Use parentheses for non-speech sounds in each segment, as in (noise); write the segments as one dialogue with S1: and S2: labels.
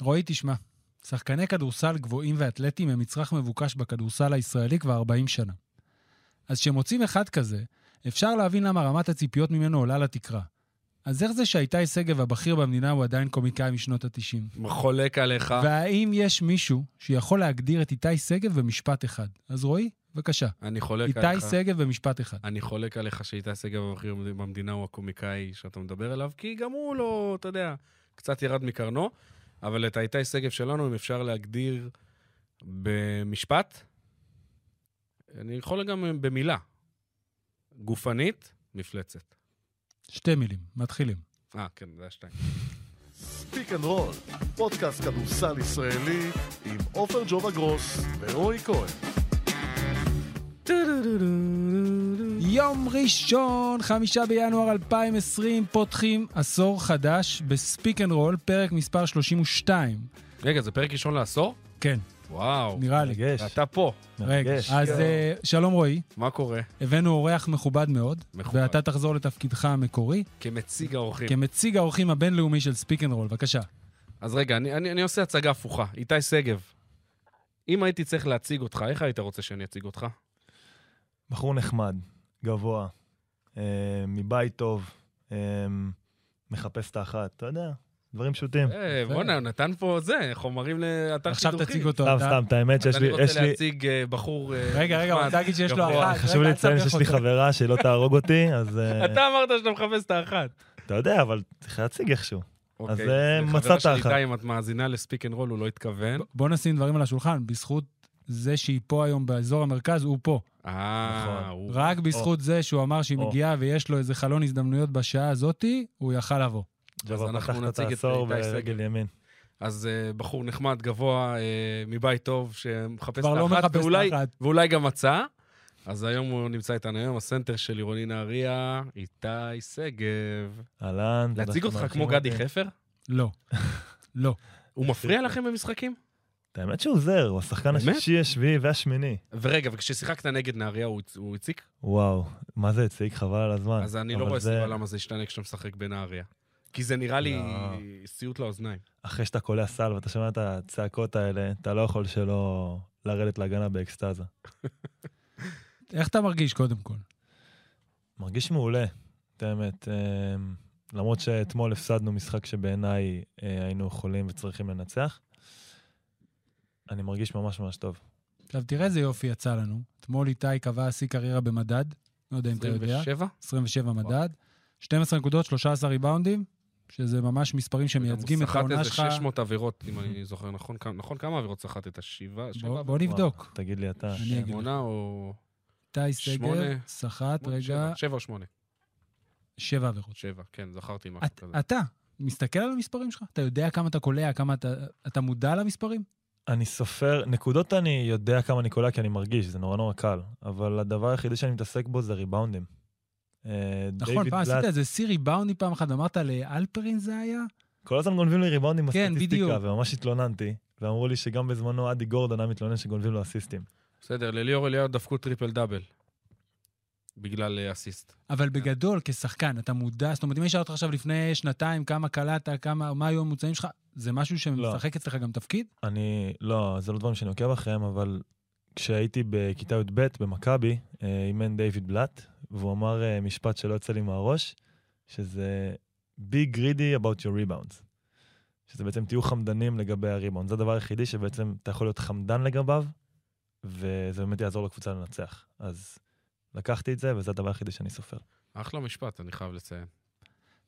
S1: רועי, תשמע, שחקני כדורסל גבוהים ואתלטים הם מצרך מבוקש בכדורסל הישראלי כבר 40 שנה. אז כשמוצאים אחד כזה, אפשר להבין למה רמת הציפיות ממנו עולה לתקרה. אז איך זה שאיתי שגב הבכיר במדינה הוא עדיין קומיקאי משנות ה-90?
S2: חולק עליך.
S1: והאם יש מישהו שיכול להגדיר את איתי שגב במשפט אחד? אז רועי, בבקשה.
S2: אני חולק עליך.
S1: איתי שגב במשפט אחד.
S2: אני חולק עליך שאיתי סגב הבכיר במדינה הוא הקומיקאי שאתה מדבר עליו, כי גם הוא לא, אתה יודע, קצת ירד מקרנו, אבל את האיתי שגב שלנו, אם אפשר להגדיר במשפט, אני יכול גם במילה. גופנית, מפלצת.
S1: שתי מילים, מתחילים.
S2: אה, כן, זה היה שתיים.
S3: ספיק אנד רול, פודקאסט כדורסל ישראלי עם עופר ג'ובה גרוס ורועי כהן.
S1: יום ראשון, חמישה בינואר 2020, פותחים עשור חדש בספיק אנד רול, פרק מספר 32.
S2: רגע, זה פרק ראשון לעשור?
S1: כן,
S2: וואו.
S1: נראה לי.
S4: מרגש.
S2: אתה פה,
S1: רגע,
S4: מרגש.
S1: אז אה, שלום רועי,
S2: מה קורה?
S1: הבאנו אורח מכובד מאוד,
S2: מכובד.
S1: ואתה תחזור לתפקידך המקורי,
S4: כן.
S2: כמציג האורחים.
S1: כמציג האורחים הבינלאומי של ספיק אנד רול, בבקשה.
S2: אז רגע, אני, אני, אני עושה הצגה הפוכה. איתי שגב, אם הייתי צריך להציג אותך, איך היית רוצה שאני אציג אותך?
S4: בחור נחמד, גבוה, אה, מבית טוב, אה, מחפש את האחת, אתה יודע, דברים פשוטים.
S2: אה, בואנה, הוא נתן פה זה, חומרים לאתר
S1: עכשיו
S2: שידוכים.
S1: תציג אותו.
S4: סתם,
S1: אתה.
S4: סתם, את האמת שיש
S2: אז אני
S4: לי, יש
S2: רוצה
S4: לי,
S2: להציג אה, בחור... אה,
S1: רגע, רגע, הוא
S2: נחמד,
S1: רוצה להגיד שיש לו
S2: גבוה.
S1: אחת.
S4: חשוב
S1: רגע,
S4: לי
S1: אל
S4: לציין
S1: תסבך
S4: שיש לי
S1: אותו.
S4: חברה שלא תהרוג אותי, אז אה,
S2: (laughs) אתה אמרת שאתה מחפש את האחת.
S4: אתה יודע, אבל צריך להציג איכשהו.
S2: אוקיי,
S4: אה,
S2: לחברה
S4: מצאת
S2: שלי,
S4: אחת.
S2: איתי, אם את מאזינה לספיק אנד רול, הוא לא התכוון.
S1: בוא נשים דברים על השולחן, בזכות זה שהיא פה היום באזור המרכז, הוא פה.
S2: אה,
S4: נכון.
S2: הוא...
S1: רק בזכות זה שהוא אמר שהיא
S4: או.
S1: מגיעה ויש לו איזה חלון הזדמנויות בשעה הזאתי, הוא יכל לבוא.
S4: ג'ובה
S2: אנחנו
S4: פתחת את
S2: נציג את
S4: העשור
S2: איתי שגב.
S4: ברגל ימין.
S2: אז אה, בחור נחמד, גבוה, אה, מבית טוב, שמחפש את
S1: כבר לא
S2: האחת,
S1: מחפש
S2: ואולי-
S1: את האחת.
S2: ואולי גם מצא. אז היום הוא נמצא איתנו היום, הסנטר של עירוני נהריה, איתי שגב.
S4: אהלן. תודה
S2: להציג אותך
S4: שמארחים
S2: כמו
S4: אותי.
S2: גדי חפר?
S1: לא. לא.
S2: הוא מפריע לכם במשחקים?
S4: האמת שהוא עוזר, הוא השחקן
S2: באמת?
S4: השישי, השביעי והשמיני.
S2: ורגע, וכששיחקת נגד נהריה הוא הצ- הוא הציק?
S4: וואו, מה זה הציג? חבל על
S1: אה,
S4: הזמן.
S2: אז אני לא
S4: אבל
S2: רואה
S4: זה-
S2: סיבה למה זה ישתנה כשאתה משחק בנהריה. כי זה נראה לי
S4: לא.
S2: סיוט לאוזניים.
S4: אחרי שאתה קולע סל ואתה שומע את הצעקות האלה, אתה לא יכול שלא לרדת להגנה באקסטזה.
S1: איך אתה מרגיש קודם כל?
S4: מרגיש מעולה, את האמת. אמ, למרות שאתמול הפסדנו משחק שבעיניי אה, היינו יכולים וצריכים לנצח, אני מרגיש ממש ממש טוב.
S1: עכשיו, תראה איזה יופי יצא לנו. אתמול איתי קבע שיא קריירה במדד, לא יודע אם אתה יודע,
S2: 27?
S1: 27 מדד, 12 נקודות, 13 ריבאונדים, שזה ממש מספרים שמייצגים את העונה שלך.
S2: הוא סחט איזה 600 עבירות, אם אני זוכר נכון. כמה- נכון כמה עבירות סחטת? שבעה?
S1: בוא-
S2: שבעה?
S1: בוא נבדוק.
S4: וואו, תגיד לי אתה.
S1: אני אגיד
S2: שמונה או...
S1: איתי סגל,
S2: שמונה.
S1: סחט, רגע,
S2: שבע, שבע או שמונה.
S1: שבע עבירות.
S2: שבע, כן, זכרתי משהו
S1: את-
S2: כזה.
S1: אתה מסתכל על המספרים שלך? אתה יודע כמה אתה קולע, כמה אתה... אתה מודע למספרים?
S4: אני סופר, נקודות אני יודע כמה אני קולע כי אני מרגיש, זה נורא נורא קל, אבל הדבר היחידי שאני מתעסק בו זה ריבאונדים. אה,
S1: נכון,
S4: דיוויד
S1: פעם עשית
S4: בלאט-
S1: איזה סי ריבאונדי פעם אחת, אמרת לאלפרין זה היה?
S4: כל הזמן גונבים לי ריבאונדים
S1: כן,
S4: בסטטיסטיקה,
S1: בדיוק.
S4: וממש התלוננתי, ואמרו לי שגם בזמנו אדי גורדון היה מתלונן שגונבים לו אסיסטים.
S2: בסדר, לליאור אליהו דפקו טריפל דאבל. בגלל אה, אסיסט.
S1: אבל
S4: כן.
S1: בגדול, כשחקן, אתה מודע, זאת אומרת, אם אני אשאל אותך עכשיו לפני שנתיים, כמה קלעת, כמה, מה היו הממוצעים שלך, זה משהו
S4: לא.
S1: שמשחק אצלך גם תפקיד?
S4: אני, לא, זה לא דברים שאני עוקב אחריהם, אבל כשהייתי בכיתה י"ב במכבי, אה, אימן דיוויד בלאט, והוא אמר אה, משפט שלא יוצא לי מהראש, שזה be greedy about your rebounds. שזה בעצם תהיו חמדנים לגבי הריבאונד. זה הדבר היחידי שבעצם אתה יכול להיות חמדן לגביו, וזה באמת יעזור לקבוצה לנצח. אז לקחתי את זה, וזה הדבר היחידי שאני סופר.
S2: אחלה משפט, אני חייב לציין.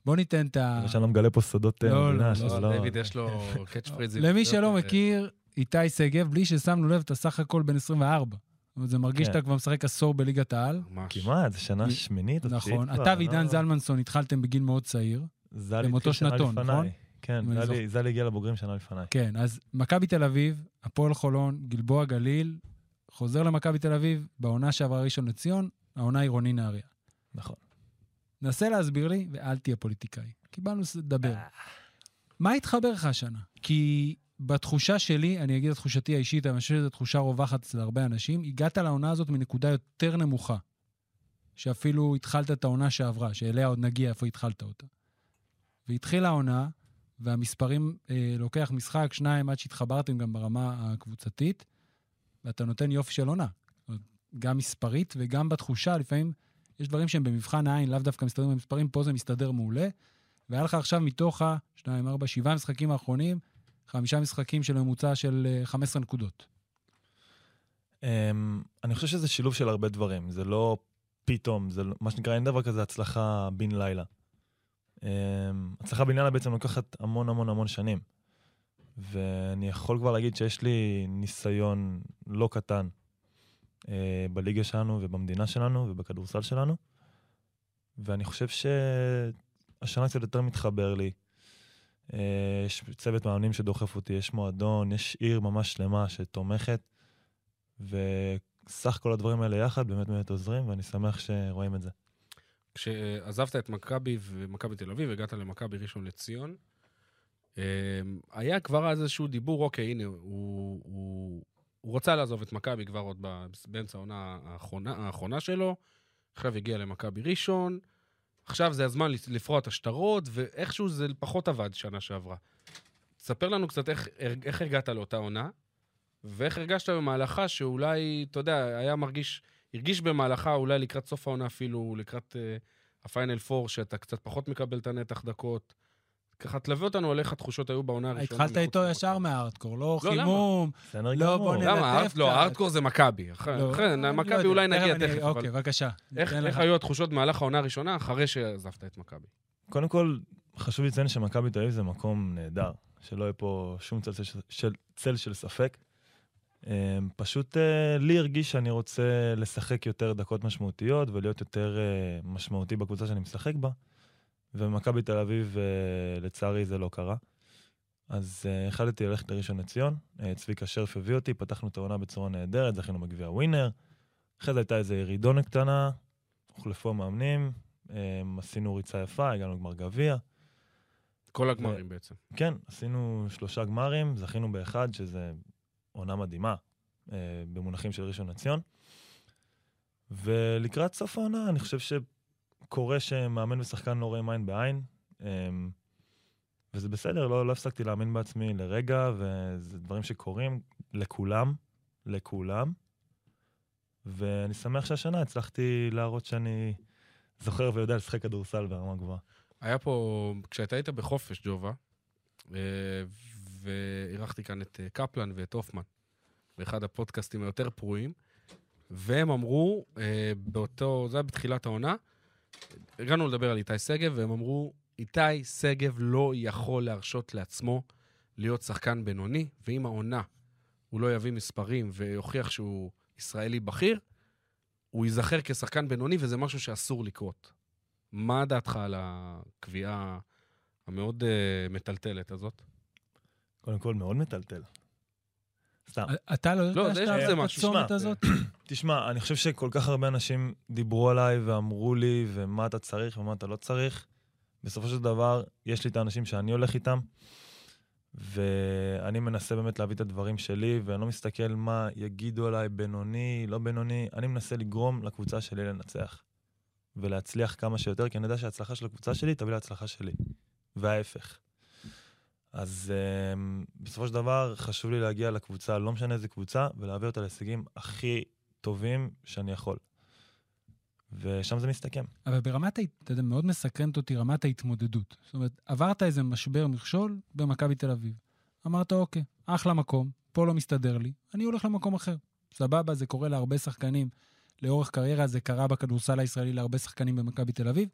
S1: בוא ניתן את ה...
S4: אבל שאני לא מגלה פה סודות אה,
S1: לא, לא,
S4: מדינה,
S1: לא,
S4: שזה
S2: לא,
S4: לא...
S2: דיוויד יש לו קאץ' פריזים.
S1: (laughs) למי שלא
S2: אה,
S1: מכיר, איתי שגב, בלי ששמנו לב, אתה סך הכל בן 24. זאת אומרת, זה מרגיש
S4: כן.
S1: שאתה כבר משחק עשור בליגת העל.
S2: ממש.
S4: כמעט, זה שנה
S1: מ-
S4: שמינית, או תשיעית
S1: נכון.
S4: כבר,
S1: אתה
S4: לא-
S1: ועידן זלמנסון התחלתם בגיל מאוד צעיר.
S4: זלי
S1: הם אותו
S4: התחיל שנה
S1: שנתון,
S4: לפניי.
S1: נכון?
S4: כן,
S1: אם אני
S4: זלי- זלי הגיע לבוגרים שנה לפניי.
S1: כן, אז מכבי תל אביב, הפועל חולון, גלבוע גליל, חוזר למכבי תל אביב, בעונה שעברה ראשון לציון, העונה עירוני נהריה.
S4: נכון.
S1: נסה להסביר לי, ואל תהיה פוליטיקאי. קיבלנו ס- לדבר. מה התחבר לך השנה? כי בתחושה שלי, אני אגיד את תחושתי האישית, אני חושב שזו תחושה רווחת אצל הרבה אנשים, הגעת לעונה הזאת מנקודה יותר נמוכה, שאפילו התחלת את העונה שעברה, שאליה עוד נגיע איפה התחלת אותה. והתחילה העונה, והמספרים, אה, לוקח משחק, שניים, עד שהתחברתם גם ברמה הקבוצתית, ואתה נותן יופי של עונה. זאת אומרת, גם מספרית וגם בתחושה, לפעמים יש דברים שהם במבחן העין, לאו דווקא מסתדרים במספרים, פה זה מסתדר מעולה. והיה לך עכשיו מתוך ה 2, 4, 7 המשחקים האחרונים, חמישה משחקים של ממוצע של אה, 15 נקודות.
S4: אמ, אני חושב שזה שילוב של הרבה דברים, זה לא פתאום, זה לא- מה שנקרא, אין דבר כזה הצלחה בן לילה. אמ, הצלחה בן לילה בעצם לוקחת המון המון המון שנים. ואני יכול כבר להגיד שיש לי ניסיון לא קטן אה, בליגה שלנו ובמדינה שלנו ובכדורסל שלנו, ואני חושב שהשנה קצת יותר מתחבר לי. אה, יש צוות מאמנים שדוחף אותי, יש מועדון, יש עיר ממש שלמה שתומכת. וסך כל הדברים האלה יחד באמת באמת עוזרים, ואני שמח שרואים את זה.
S2: כשעזבת את מכבי ומכבי תל אביב, הגעת למכבי ראשון לציון, אמ, היה כבר אז איזשהו דיבור, אוקיי, הנה, הוא, הוא, הוא רצה לעזוב את מכבי כבר עוד ב- באמצע העונה האחרונה, האחרונה שלו, עכשיו הגיע למכבי ראשון, עכשיו זה הזמן לפ- לפרוע את השטרות, ואיכשהו זה פחות עבד שנה שעברה. תספר לנו קצת איך, איך הגעת לאותה עונה, ואיך הרגשת במהלכה שאולי, אתה יודע, היה מרגיש, הרגיש במהלכה אולי לקראת סוף העונה אפילו, לקראת אה, הפיינל פור, שאתה קצת פחות מקבל את הנתח דקות. ככה תלווה אותנו על איך התחושות היו בעונה הראשונה.
S1: התחלת איתו ישר מהארטקור, לא
S2: לא, למה?
S1: חימום,
S4: בסדר
S1: לא,
S4: גמור.
S1: בוא נ-
S2: למה?
S1: ללטף
S2: הארט- לא,
S1: קצת.
S2: הארטקור זה מכבי. אחרי-
S1: לא,
S2: אה, אחרי,
S1: אני לא
S2: מכבי
S1: יודע,
S2: אולי נגיע
S1: תכף אני-
S2: תכף, אבל
S1: אוקיי, בבקשה.
S2: איך
S1: ניתן
S2: איך
S1: לך.
S2: היו התחושות במהלך העונה הראשונה אחרי שעזבת את מכבי?
S4: קודם כל, חשוב לציין שמכבי תל אביב זה מקום נהדר, שלא יהיה פה שום צל של, של, צל של ספק. אה, פשוט אה, לי הרגיש שאני רוצה לשחק יותר דקות משמעותיות ולהיות יותר אה, משמעותי בקבוצה שאני משחק בה, ובמכבי תל אביב, אה, לצערי, זה לא קרה. אז אה, החלטתי ללכת לראשון לציון, אה, צביקה שרף הביא אותי, פתחנו את העונה בצורה נהדרת, זכינו בגביע ווינר, אחרי זה הייתה איזו ירידונה קטנה, הוחלפו המאמנים, אמ, עשינו ריצה יפה, הגענו לגמר גביע.
S2: כל הגמרים בעצם.
S4: כן, עשינו שלושה גמרים, זכינו באחד, שזה עונה מדהימה אה, במונחים של ראשון לציון. ולקראת סוף העונה, אני חושב שקורה שמאמן ושחקן לא רואים עין בעין, אמ, וזה בסדר, לא, לא הפסקתי להאמין בעצמי לרגע, וזה דברים שקורים לכולם, לכולם. ואני שמח שהשנה הצלחתי להראות שאני זוכר ויודע לשחק כדורסל ברמה גבוהה.
S2: היה פה, כשאתה היית בחופש, ג'ובה, אה, ואירחתי כאן את אה, קפלן ואת הופמן, באחד הפודקאסטים היותר פרועים, והם אמרו, אה, באותו, זה היה בתחילת העונה, הגענו לדבר על איתי שגב, והם אמרו, איתי שגב לא יכול להרשות לעצמו להיות שחקן בינוני, ואם העונה הוא לא יביא מספרים ויוכיח שהוא ישראלי בכיר, הוא ייזכר כשחקן בינוני, וזה משהו שאסור לקרות. מה דעתך על הקביעה המאוד uh, מטלטלת הזאת?
S4: קודם כל, מאוד מטלטל. סתם.
S1: אתה לא
S2: לא,
S1: יודע
S2: זה-
S1: שאתה
S2: זה
S1: עושה את
S2: משהו,
S1: הצומת
S4: שמע,
S1: הזאת?
S4: תשמע, אני חושב שכל כך הרבה אנשים דיברו עליי ואמרו לי, ומה אתה צריך ומה אתה לא צריך. בסופו של דבר, יש לי את האנשים שאני הולך איתם, ואני מנסה באמת להביא את הדברים שלי, ואני לא מסתכל מה יגידו עליי, בינוני, לא בינוני, אני מנסה לגרום לקבוצה שלי לנצח, ולהצליח כמה שיותר, כי אני יודע שההצלחה של הקבוצה שלי תביא להצלחה שלי, וההפך. אז um, בסופו של דבר, חשוב לי להגיע לקבוצה, לא משנה איזה קבוצה, ולהעביר אותה להישגים הכי טובים שאני יכול. ושם זה מסתכם.
S1: אבל ברמת, ההת- אתה יודע, מאוד מסקרנת אותי רמת ההתמודדות. זאת אומרת, עברת איזה משבר מכשול במכבי תל אביב. אמרת, אוקיי, אחלה מקום, פה לא מסתדר לי, אני הולך למקום אחר. סבבה, זה קורה להרבה שחקנים לאורך קריירה, זה קרה בכדורסל הישראלי להרבה שחקנים במכבי תל אביב.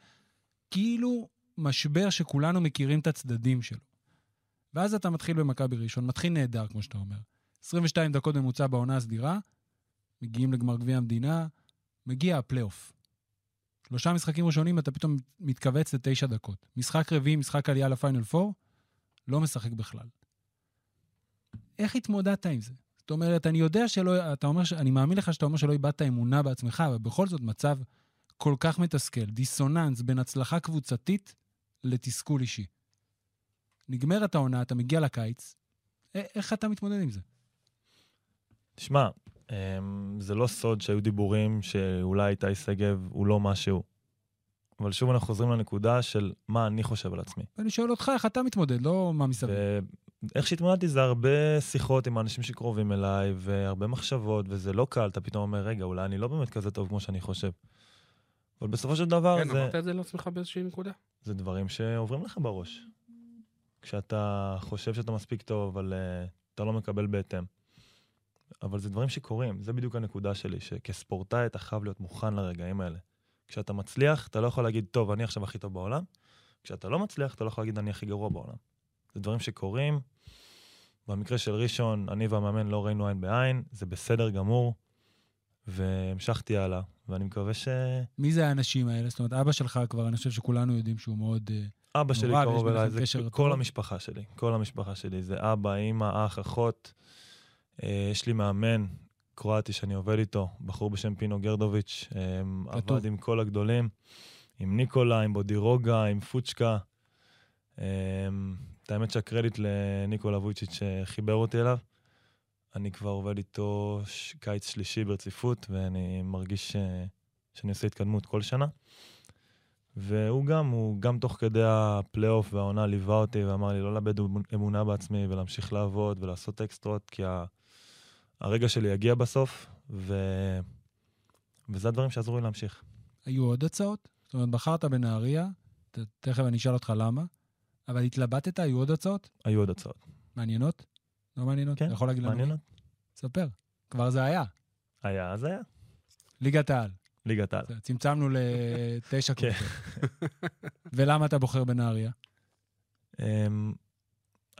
S1: כאילו משבר שכולנו מכירים את הצדדים שלו. ואז אתה מתחיל במכבי ראשון, מתחיל נהדר, כמו שאתה אומר. 22 דקות ממוצע בעונה הסדירה, מגיעים לגמר גביע המדינה, מגיע הפלייאוף. שלושה משחקים ראשונים אתה פתאום מתכווץ לתשע דקות. משחק רביעי, משחק עלייה לפיינל 4, לא משחק בכלל. איך התמודדת עם זה? זאת אומרת, אני יודע שלא, אתה אומר, ש- אני מאמין לך שאתה אומר שלא איבדת אמונה בעצמך, אבל בכל זאת מצב כל כך מתסכל, דיסוננס בין הצלחה קבוצתית לתסכול אישי. נגמרת העונה, אתה מגיע לקיץ, א- איך אתה מתמודד עם זה?
S4: תשמע, אמ, זה לא סוד שהיו דיבורים שאולי איתי שגב הוא לא משהו. אבל שוב אנחנו חוזרים לנקודה של מה אני חושב על עצמי.
S1: ואני שואל אותך איך אתה מתמודד, לא מה מסביב.
S4: ואיך שהתמודדתי זה הרבה שיחות עם האנשים שקרובים אליי, והרבה מחשבות, וזה לא קל, אתה פתאום אומר, רגע, אולי אני לא באמת כזה טוב כמו שאני חושב. אבל בסופו של דבר
S2: כן,
S4: לא, זה,
S2: אמרת את זה לעצמך באיזושהי נקודה?
S4: זה דברים שעוברים לך בראש. כשאתה חושב שאתה מספיק טוב, אבל uh, אתה לא מקבל בהתאם. אבל זה דברים שקורים, זה בדיוק הנקודה שלי, שכספורטאי אתה חייב להיות מוכן לרגעים האלה. כשאתה מצליח, אתה לא יכול להגיד, טוב, אני עכשיו הכי טוב בעולם. כשאתה לא מצליח, אתה לא יכול להגיד, אני הכי גרוע בעולם. זה דברים שקורים. במקרה של ראשון, אני והמאמן לא ראינו עין בעין, זה בסדר גמור. והמשכתי הלאה, ואני מקווה ש...
S1: מי זה האנשים האלה? זאת אומרת, אבא שלך כבר, אני חושב שכולנו יודעים שהוא מאוד... אה,
S4: אבא שלי
S1: נורא, ויש
S4: קרוב אליי,
S1: ביניכם
S4: זה
S1: קשר
S4: כל
S1: טוב.
S4: המשפחה שלי. כל המשפחה שלי זה אבא, אימא, אח, אחות. אה, יש לי מאמן קרואטי שאני עובד איתו, בחור בשם פינו גרדוביץ', אה,
S1: כתוב.
S4: עבד עם כל הגדולים, עם ניקולה, עם בודירוגה, עם פוצ'קה. אה, את האמת שהקרדיט לניקולה וויצ'יץ' שחיבר אותי אליו. אני כבר עובד איתו ש... קיץ שלישי ברציפות, ואני מרגיש ש... שאני עושה התקדמות כל שנה. והוא גם, הוא גם תוך כדי הפלייאוף והעונה ליווה אותי ואמר לי לא לאבד אמונה בעצמי ולהמשיך לעבוד ולעשות אקסטרות, כי ה... הרגע שלי יגיע בסוף, ו... וזה הדברים שעזרו לי להמשיך.
S1: היו עוד הצעות? זאת אומרת, בחרת בנהריה, ת- תכף אני אשאל אותך למה, אבל התלבטת, היו עוד הצעות?
S4: היו עוד הצעות.
S1: מעניינות? לא מעניינות?
S4: כן,
S1: אתה יכול להגיד לנו?
S4: מעניינות.
S1: ספר. כבר זה היה.
S4: היה, אז היה.
S1: ליגת העל.
S4: ליגת העל.
S1: זה- צמצמנו לתשע
S4: (laughs) כן.
S1: קבוצות. ולמה אתה בוחר בנהריה?
S4: אמ,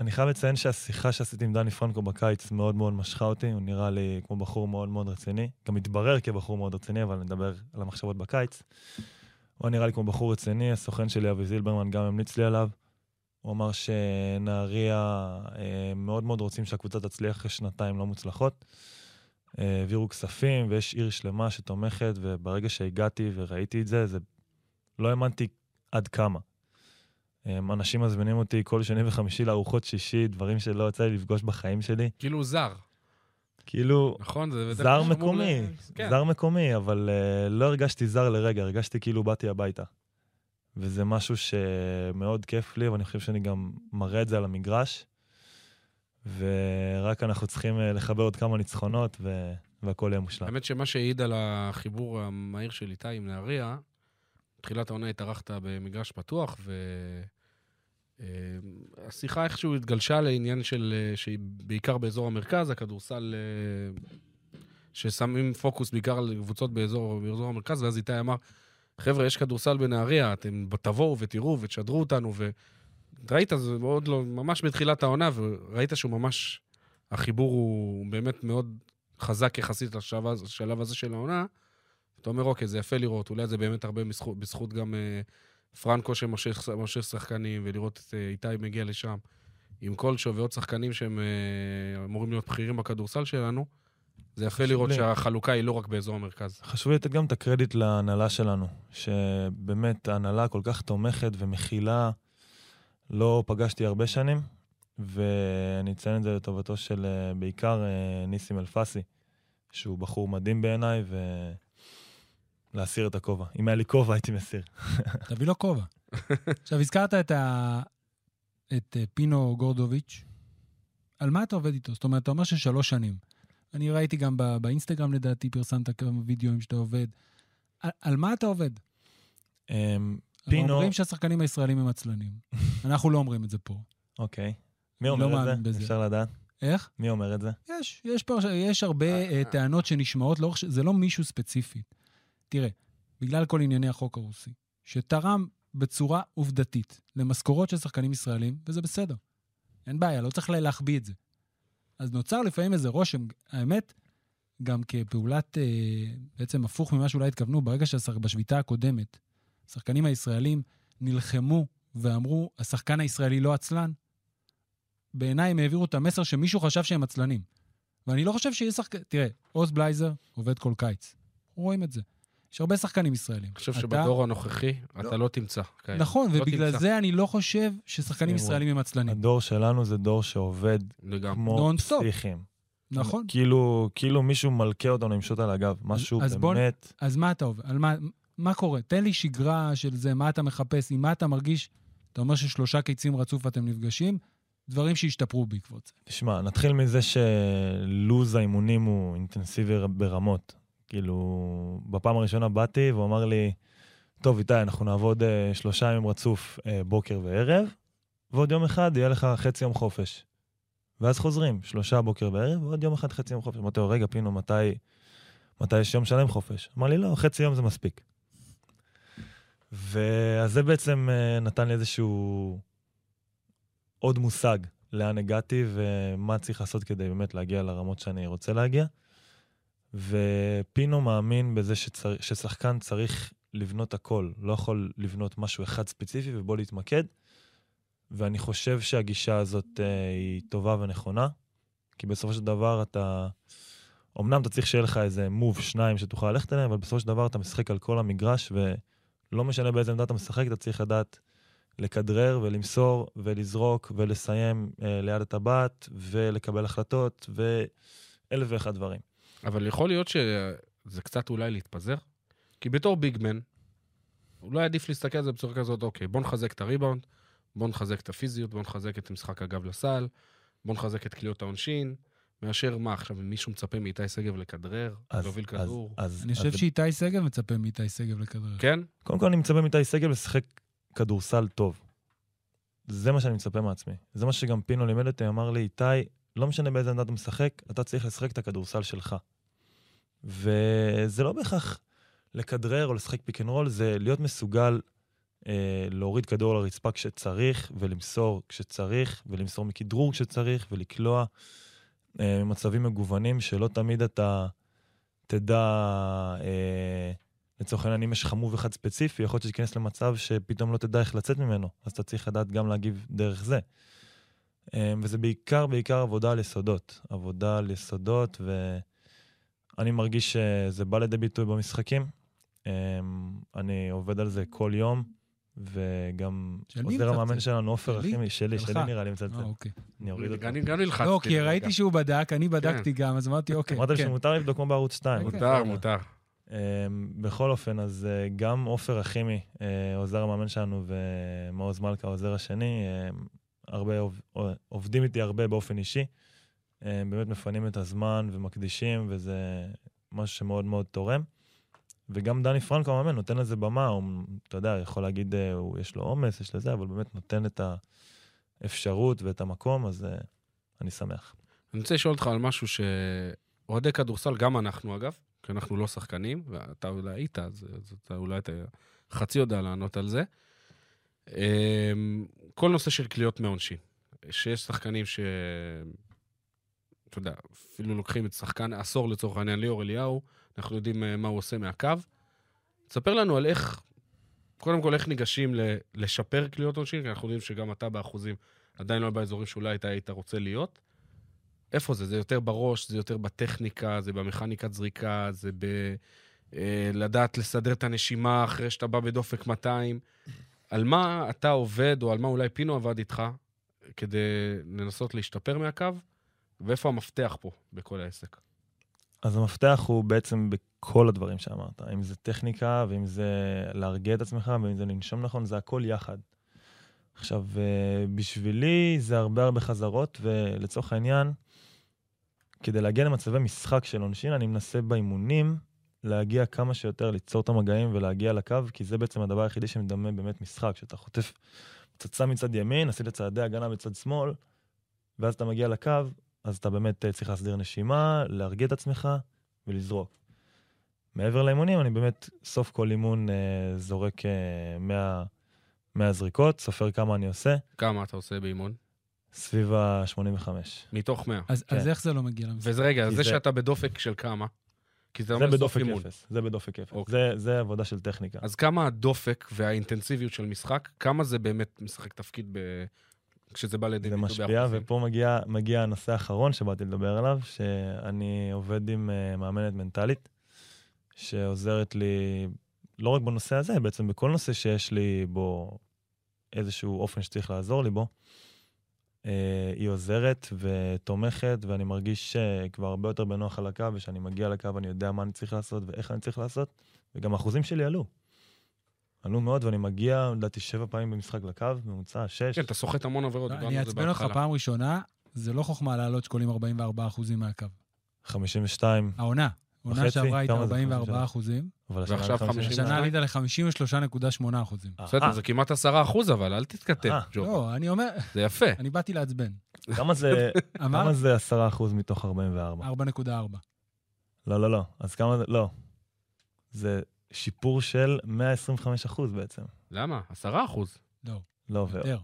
S4: אני חייב לציין שהשיחה שעשיתי עם דני פרנקו בקיץ מאוד מאוד משכה אותי, הוא נראה לי כמו בחור מאוד מאוד רציני. גם התברר כבחור מאוד רציני, אבל נדבר על המחשבות בקיץ. הוא היה נראה לי כמו בחור רציני, הסוכן שלי אבי זילברמן גם המליץ לי עליו. הוא אמר שנהריה אה, מאוד מאוד רוצים שהקבוצה תצליח אחרי שנתיים לא מוצלחות. אה, העבירו כספים ויש עיר שלמה שתומכת, וברגע שהגעתי וראיתי את זה, זה... לא האמנתי עד כמה. אמ, אנשים מזמינים אותי כל שני וחמישי לארוחות שישי, דברים שלא יצא לי לפגוש בחיים שלי.
S2: כאילו הוא זר,
S4: כאילו,
S2: נכון? זה- זה
S4: זר
S2: שמור
S4: מקומי,
S2: ל- כן.
S4: זר מקומי, אבל אה, לא הרגשתי זר לרגע, הרגשתי כאילו באתי הביתה. וזה משהו שמאוד כיף לי, ואני חושב שאני גם מראה את זה על המגרש. ורק אנחנו צריכים אה, לחבר עוד כמה ניצחונות, ו... והכל יהיה מושלם.
S2: האמת שמה שהעיד על החיבור המהיר של איתי עם נהריה, תחילת העונה התארחת במגרש פתוח, והשיחה איכשהו התגלשה לעניין של, אה, שהיא בעיקר באזור המרכז, הכדורסל, אה, ששמים פוקוס בעיקר על קבוצות באזור, באזור המרכז, ואז איתי אמר, חבר'ה, יש כדורסל בנהריה, אתם תבואו ותראו ותשדרו אותנו, ו... ראית, זה עוד לא, ממש בתחילת העונה, וראית שהוא ממש, החיבור הוא באמת מאוד חזק יחסית לשלב, הזה- לשלב הזה של העונה, אתה אומר, אוקיי, זה יפה לראות, אולי זה באמת הרבה בזכות, בזכות גם אה, פרנקו שמושך מושך שחקנים, ולראות את אה, איתי מגיע לשם, עם קולשו ועוד שחקנים שהם אה, אמורים להיות בכירים בכדורסל שלנו, זה יפה
S4: חשוב
S2: לראות
S4: לי.
S2: שהחלוקה היא לא רק באזור המרכז.
S4: חשוב לי לתת גם את הקרדיט להנהלה שלנו, שבאמת ההנהלה כל כך תומכת ומכילה, לא פגשתי הרבה שנים, ואני אציין את זה לטובתו של אה, בעיקר אה, ניסים אלפסי, שהוא בחור מדהים בעיניי, ולהסיר את הכובע. אם היה לי כובע הייתי מסיר.
S1: תביא לו
S4: (laughs)
S1: כובע. עכשיו, הזכרת את, ה... את אה, פינו גורדוביץ'. על מה אתה עובד איתו? זאת אומרת, אתה אומר ששלוש שנים. אני ראיתי גם ב... באינסטגרם, לדעתי, פרסמת כמה וידאוים שאתה עובד. על, על מה אתה עובד?
S4: אה,
S1: פינו...
S4: פינו-
S1: אומרים שהשחקנים הישראלים הם עצלנים. אנחנו לא אומרים את זה פה.
S4: אוקיי. מי
S1: אני לא
S4: אומר את
S1: מאמין
S4: זה?
S1: בזה.
S4: אפשר לדעת?
S1: איך?
S4: מי אומר את זה?
S1: יש, יש, פרש... יש הרבה אה, טענות שנשמעות, לאורך ש- זה לא מישהו ספציפי. תראה, בגלל כל ענייני החוק הרוסי, שתרם בצורה עובדתית למשכורות של שחקנים ישראלים, וזה בסדר. אין בעיה, לא צריך לה- להחביא את זה. אז נוצר לפעמים איזה רושם, האמת, גם כפעולת, אה, בעצם הפוך ממה שאולי התכוונו, ברגע שבשביתה הקודמת, השחקנים הישראלים נלחמו ואמרו, השחקן הישראלי לא עצלן, בעיניי הם העבירו את המסר שמישהו חשב שהם עצלנים. ואני לא חושב שיש שחקן... תראה, עוז בלייזר עובד כל קיץ. אנחנו רואים את זה. יש הרבה שחקנים ישראלים.
S2: אני חושב
S1: אתה-
S2: שבדור הנוכחי, אתה לא תמצא. כאלה.
S1: נכון,
S2: לא
S1: ובגלל
S2: תמצא.
S1: זה אני לא חושב ששחקנים
S4: שימו.
S1: ישראלים הם עצלנים.
S4: הדור שלנו זה דור שעובד
S2: לגמרי.
S4: כמו
S1: נונסטופ.
S4: פסיכים.
S1: נכון?
S4: כאילו, כאילו מישהו מלכה אותנו עם שוט על הגב, משהו
S1: אז בוא נ-
S4: באמת...
S1: אז מה אתה עובד? על מה... מה קורה? תן לי שגרה של זה, מה אתה מחפש, עם מה אתה מרגיש. אתה אומר ששלושה קיצים רצוף אתם נפגשים, דברים שהשתפרו בעקבות זה.
S4: תשמע, נתחיל מזה שלוז האימונים הוא אינטנסיבי ברמות. כאילו, בפעם הראשונה באתי והוא אמר לי, טוב, איתי, אנחנו נעבוד אה, שלושה ימים רצוף, אה, בוקר וערב, ועוד יום אחד יהיה לך חצי יום חופש. ואז חוזרים, שלושה בוקר וערב, ועוד יום אחד חצי יום חופש. אמרתי לו, רגע, פינו, מתי, מתי יש יום שלם חופש? אמר לי, לא, חצי יום זה מספיק. ואז זה בעצם אה, נתן לי איזשהו עוד מושג לאן הגעתי ומה צריך לעשות כדי באמת להגיע לרמות שאני רוצה להגיע. ופינו מאמין בזה שצר... ששחקן צריך לבנות הכל, לא יכול לבנות משהו אחד ספציפי ובו להתמקד. ואני חושב שהגישה הזאת uh, היא טובה ונכונה, כי בסופו של דבר אתה... אמנם אתה צריך שיהיה לך איזה מוב, שניים שתוכל ללכת אליהם, אבל בסופו של דבר אתה משחק על כל המגרש, ולא משנה באיזה עמדה אתה משחק, אתה צריך לדעת לכדרר ולמסור ולזרוק ולסיים אה, ליד הטבעת ולקבל החלטות ואלף ואחד דברים.
S2: אבל יכול להיות שזה קצת אולי להתפזר? כי בתור ביגמן, אולי עדיף להסתכל על זה בצורה כזאת, אוקיי, בוא נחזק את הריבאונד, בוא נחזק את הפיזיות, בוא נחזק את משחק הגב לסל, בוא נחזק את קליעות העונשין, מאשר מה, עכשיו מישהו מצפה מאיתי שגב לכדרר, להוביל כדור?
S4: אז, אז,
S1: אני חושב
S4: אז
S1: שאיתי שגב מצפה מאיתי שגב לכדרר.
S2: כן?
S4: קודם כל אני מצפה מאיתי שגב לשחק כדורסל טוב. זה מה שאני מצפה מעצמי. זה מה שגם פינו לימד אותי, אמר לי, איתי, לא משנה באיזה עמדה אתה משחק, אתה צריך לשחק את הכדורסל שלך. וזה לא בהכרח לכדרר או לשחק פיק אנד רול, זה להיות מסוגל אה, להוריד כדור לרצפה כשצריך, ולמסור כשצריך, ולמסור מכדרור כשצריך, ולקלוע אה, מצבים מגוונים שלא תמיד אתה תדע... אה, לצורך העניין, אם יש לך מוב אחד ספציפי, יכול להיות שתיכנס למצב שפתאום לא תדע איך לצאת ממנו, אז אתה צריך לדעת גם להגיב דרך זה. אמ, וזה בעיקר, בעיקר עבודה על יסודות. עבודה על יסודות, ואני מרגיש שזה בא לידי ביטוי במשחקים. אמ, אני עובד על זה כל יום, וגם
S1: של מי
S4: עוזר המאמן
S1: מצלצל?
S4: שלנו, עופר,
S1: שלי?
S4: אחי, שלי, שלי,
S1: שלך?
S4: נראה לי מצלצל.
S1: אה, אוקיי.
S4: אני אוריד אותו.
S2: אני גם נלחצתי.
S1: לא, כי
S2: לרגע.
S1: ראיתי שהוא בדק, אני בדקתי גם, אז אמרתי, אוקיי,
S4: אמרת לי
S1: כן.
S4: שמותר לבדוק כמו בערוץ 2.
S1: אוקיי.
S2: מותר, מותר.
S4: אמ, בכל אופן, אז אה, גם עופר אחימי, אה, עוזר המאמן שלנו, ומעוז מלכה, העוזר השני, אמ, הרבה עוב- אה, עובדים איתי הרבה באופן אישי. אמ, באמת מפנים את הזמן ומקדישים, וזה משהו שמאוד מאוד תורם. וגם דני פרנקו המאמן נותן לזה במה, הוא, אתה יודע, יכול להגיד, אה, הוא- יש לו עומס, יש לזה, אבל באמת נותן את האפשרות ואת המקום, אז אה, אני שמח.
S2: אני רוצה לשאול אותך על משהו שאוהדי כדורסל, גם אנחנו אגב, כי אנחנו לא שחקנים, ואתה אולי היית, אז, אז אתה אולי אתה חצי יודע לענות על זה. אמ, כל נושא של קליעות מעונשין, שיש שחקנים ש... אתה יודע, אפילו לוקחים את שחקן עשור לצורך העניין, ליאור אליהו, אנחנו יודעים אה, מה הוא עושה מהקו. תספר לנו על איך, קודם כל, איך ניגשים ל- לשפר קליעות עונשין, כי אנחנו יודעים שגם אתה באחוזים עדיין לא באזורים שאולי אתה היית רוצה להיות. איפה זה? זה יותר בראש, זה יותר בטכניקה, זה במכניקת זריקה, זה ב... אה, לדעת לסדר את הנשימה אחרי שאתה בא בדופק 200. על מה אתה עובד, או על מה אולי פינו עבד איתך, כדי לנסות להשתפר מהקו, ואיפה המפתח פה בכל העסק?
S4: אז המפתח הוא בעצם בכל הדברים שאמרת, אם זה טכניקה, ואם זה להרגיע את עצמך, ואם זה לנשום נכון, זה הכל יחד. עכשיו, אה, בשבילי זה הרבה הרבה חזרות, ולצורך העניין, כדי להגיע למצבי משחק של עונשין, אני מנסה באימונים להגיע כמה שיותר, ליצור את המגעים ולהגיע לקו, כי זה בעצם הדבר היחידי שמדמה באמת משחק, שאתה חוטף פצצה מצד ימין, עשית צעדי הגנה מצד שמאל, ואז אתה מגיע לקו, אז אתה באמת אה, צריך להסדיר נשימה, להרגיע את עצמך ולזרוק. מעבר לאימונים, אני באמת סוף כל אימון אה, זורק אה, 100, 100 זריקות, סופר כמה אני עושה,
S2: כמה אתה עושה באימון?
S4: סביב ה-85.
S2: מתוך 100.
S1: אז
S4: כן.
S1: אז איך זה לא מגיע למשחק?
S2: וזה רגע,
S4: כי
S2: זה
S4: זה-
S2: שאתה בדופק של כמה? כי זה
S4: זה
S2: אומר סוף
S4: בדופק
S2: אימון.
S4: אפס, זה בדופק אפס.
S2: אוקיי.
S4: זה, זה עבודה של טכניקה.
S2: אז כמה הדופק והאינטנסיביות של משחק, כמה זה באמת משחק תפקיד ב... כשזה בא לידי
S4: זה
S2: ביטוי
S4: משפיע,
S2: באחוזים?
S4: ופה מגיע, מגיע הנושא האחרון שבאתי לדבר עליו, שאני עובד עם אה, מאמנת מנטלית, שעוזרת לי לא רק בנושא הזה, בעצם בכל נושא שיש לי בו איזשהו אופן שצריך לעזור לי בו. אה, היא עוזרת ותומכת, ואני מרגיש שכבר הרבה יותר בנוח על הקו, וכשאני מגיע לקו אני יודע מה אני צריך לעשות ואיך אני צריך לעשות, וגם האחוזים שלי עלו. עלו מאוד, ואני מגיע, לדעתי, שבע פעמים במשחק לקו, ממוצע, שש.
S2: כן, אתה סוחט המון עבירות, דיברנו
S1: לא, אני
S2: על זה
S1: אעצבן אותך
S2: בהתחלה.
S1: פעם ראשונה, זה לא חוכמה לעלות שקולים 44% מהקו.
S4: 52,
S1: העונה, העונה
S4: וחצי?
S1: שעברה הייתה
S4: כמה זה?
S1: 44
S4: 52?
S1: אחוזים,
S4: אבל
S2: ועכשיו חמישים
S1: השנה עלית
S2: ושניים?
S1: ל-53.8 אחוזים.
S4: אה,
S2: בסדר, זה כמעט עשרה אחוז, אבל אל תתכתב,
S4: אה.
S2: ג'ו.
S1: לא, אני אומר,
S2: זה יפה.
S1: אני באתי לעצבן.
S2: (laughs)
S4: כמה זה-
S1: אמר
S4: כמה זה 10% מתוך 44?
S1: 4.4.
S4: לא, לא, לא. אז כמה זה... לא. זה שיפור של 125% בעצם.
S2: למה? עשרה אחוז. אה,
S1: לא,
S4: לא, ו...
S1: יותר.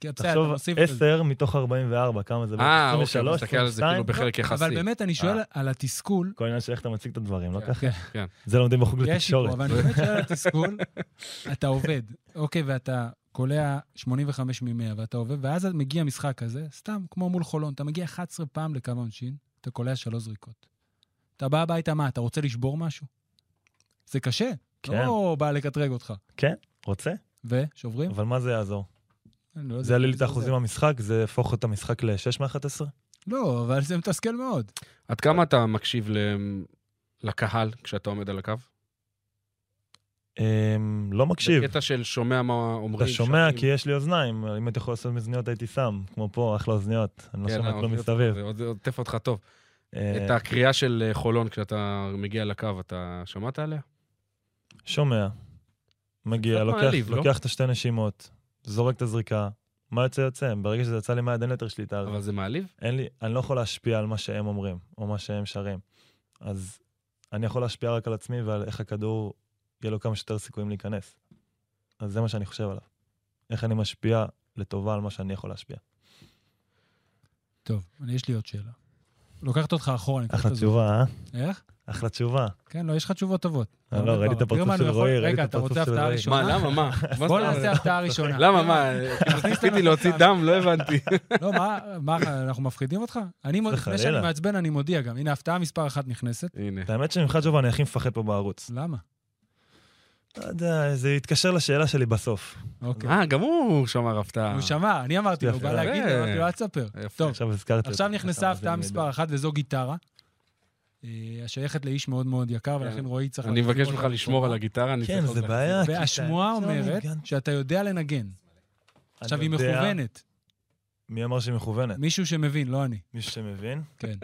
S1: כי בסדר, אתה
S4: תחשוב,
S1: מוסיף את זה.
S4: 10 מתוך 44, כמה זה?
S2: אה, אוקיי,
S4: 23,
S2: אתה מסתכל על זה כאילו
S4: 22?
S2: בחלק יחסי.
S1: לא, אבל באמת, אני שואל
S4: אה.
S1: על התסכול.
S4: כל עניין של איך אתה מציג את הדברים, לא
S2: כן.
S4: ככה?
S2: כן.
S4: זה לומדים
S1: יש
S4: בחוג
S1: שיפור,
S4: לתקשורת.
S1: אבל אני באמת שואל על התסכול. אתה עובד, אוקיי, ואתה קולע 85 מ-100, ואתה עובד, ואז מגיע משחק כזה, סתם, כמו מול חולון, אתה מגיע 11 פעם לקו העונשין, אתה קולע שלוש זריקות. אתה בא הביתה, מה, אתה רוצה לשבור משהו? זה קשה.
S4: כן.
S1: לא בא לקטרג אותך.
S4: רוצה?
S1: ושוברים?
S4: אבל מה זה יעזור?
S1: אני לא יודע,
S4: זה יעלה לי את
S1: זה-
S4: האחוזים במשחק, זה יהפוך את המשחק ל-6 מ-11?
S1: לא, אבל זה מתסכל מאוד.
S2: עד כמה אתה מקשיב ל- לקהל כשאתה עומד על הקו?
S4: לא מקשיב.
S2: בקטע של שומע מה אומרים.
S4: אתה שומע
S2: שומעים.
S4: כי יש לי אוזניים, אם הייתי יכול לעשות מאזניות הייתי שם, כמו פה, אחלה אוזניות, אני לא
S2: כן,
S4: שומע
S2: האוזניות
S4: כלום
S2: שלך,
S4: מסביב.
S2: זה עוד- עוד עוטף אותך טוב.
S4: אה,
S2: את הקריאה של אה, חולון כשאתה מגיע לקו, אתה שמעת עליה?
S4: שומע, מגיע,
S2: קצת
S4: לוקח,
S2: מעליב, לא?
S4: לוקח את השתי נשימות, זורק את הזריקה, מה יוצא יוצא, ברגע שזה יצא לי מהיד אין לי יותר שליטה על זה.
S2: אבל זה מעליב?
S4: אין לי, אני לא יכול להשפיע על מה שהם אומרים, או מה שהם שרים. אז אני יכול להשפיע רק על עצמי ועל איך הכדור, יהיה לו כמה שיותר סיכויים להיכנס. אז זה מה שאני חושב עליו. איך אני משפיע לטובה על מה שאני יכול להשפיע.
S1: טוב, אני- יש לי עוד שאלה. לוקחת אותך אחורה, אני
S4: אחלה
S1: את הזמן.
S4: תשובה, אה?
S1: איך?
S4: אחלה תשובה.
S1: כן, לא, יש לך תשובות טובות.
S4: אה, לא, ראיתי את הפרצוף
S1: גרמן,
S4: של
S1: הוא יכול-
S4: רועי, ראיתי
S1: רגע,
S4: את
S1: אתה רוצה
S4: הפרצוף של
S1: הפתעה
S4: רועי.
S1: ראשונה?
S2: מה,
S1: (laughs)
S2: למה, מה? מה?
S1: בוא
S2: זאת אומרת?
S1: נעשה הפתעה ראשונה.
S2: למה, מה? כאילו, ציפיתי להוציא דם, לא
S1: (laughs)
S2: הבנתי.
S1: לא, מה, מה, אנחנו מפחידים אותך? אני, מוד- לפני שאני
S4: חלילה.
S1: מעצבן, אני מודיע גם. הנה, הפתעה מספר אחת נכנסת.
S2: הנה.
S4: את האמת שממך ג'ובה אני הכי מפחד פה בערוץ.
S1: למה?
S4: לא יודע, זה יתקשר לשאלה שלי בסוף.
S1: אוקיי.
S2: אה, גם הוא שמר הפתעה.
S1: הוא שמע, אני אמרתי לו, הוא
S4: יפה. אה.
S1: בא להגיד, לו,
S2: יפה.
S1: אמרתי לו, אל תספר.
S2: יפה.
S1: טוב,
S4: עכשיו הזכרתי.
S1: עכשיו
S4: אותו.
S1: נכנסה הפתעה
S4: זה
S1: מספר אחת, וזו גיטרה. אה, השייכת לאיש מאוד מאוד יקר, ולכן רועי צריך...
S2: כן. אני
S1: להחזיר
S2: מבקש
S1: אותה
S2: ממך לשמור על הגיטרה, אני
S4: כן,
S2: צריך
S4: זה
S2: עוד-
S4: בעיה. כי
S1: והשמועה
S4: אתה-
S1: אומרת
S4: אני
S1: שאתה יודע לנגן. עכשיו, היא
S4: יודע-
S1: מכוונת.
S4: מי אמר שהיא מכוונת?
S1: מישהו שמבין, לא אני.
S4: מישהו שמבין?
S1: כן.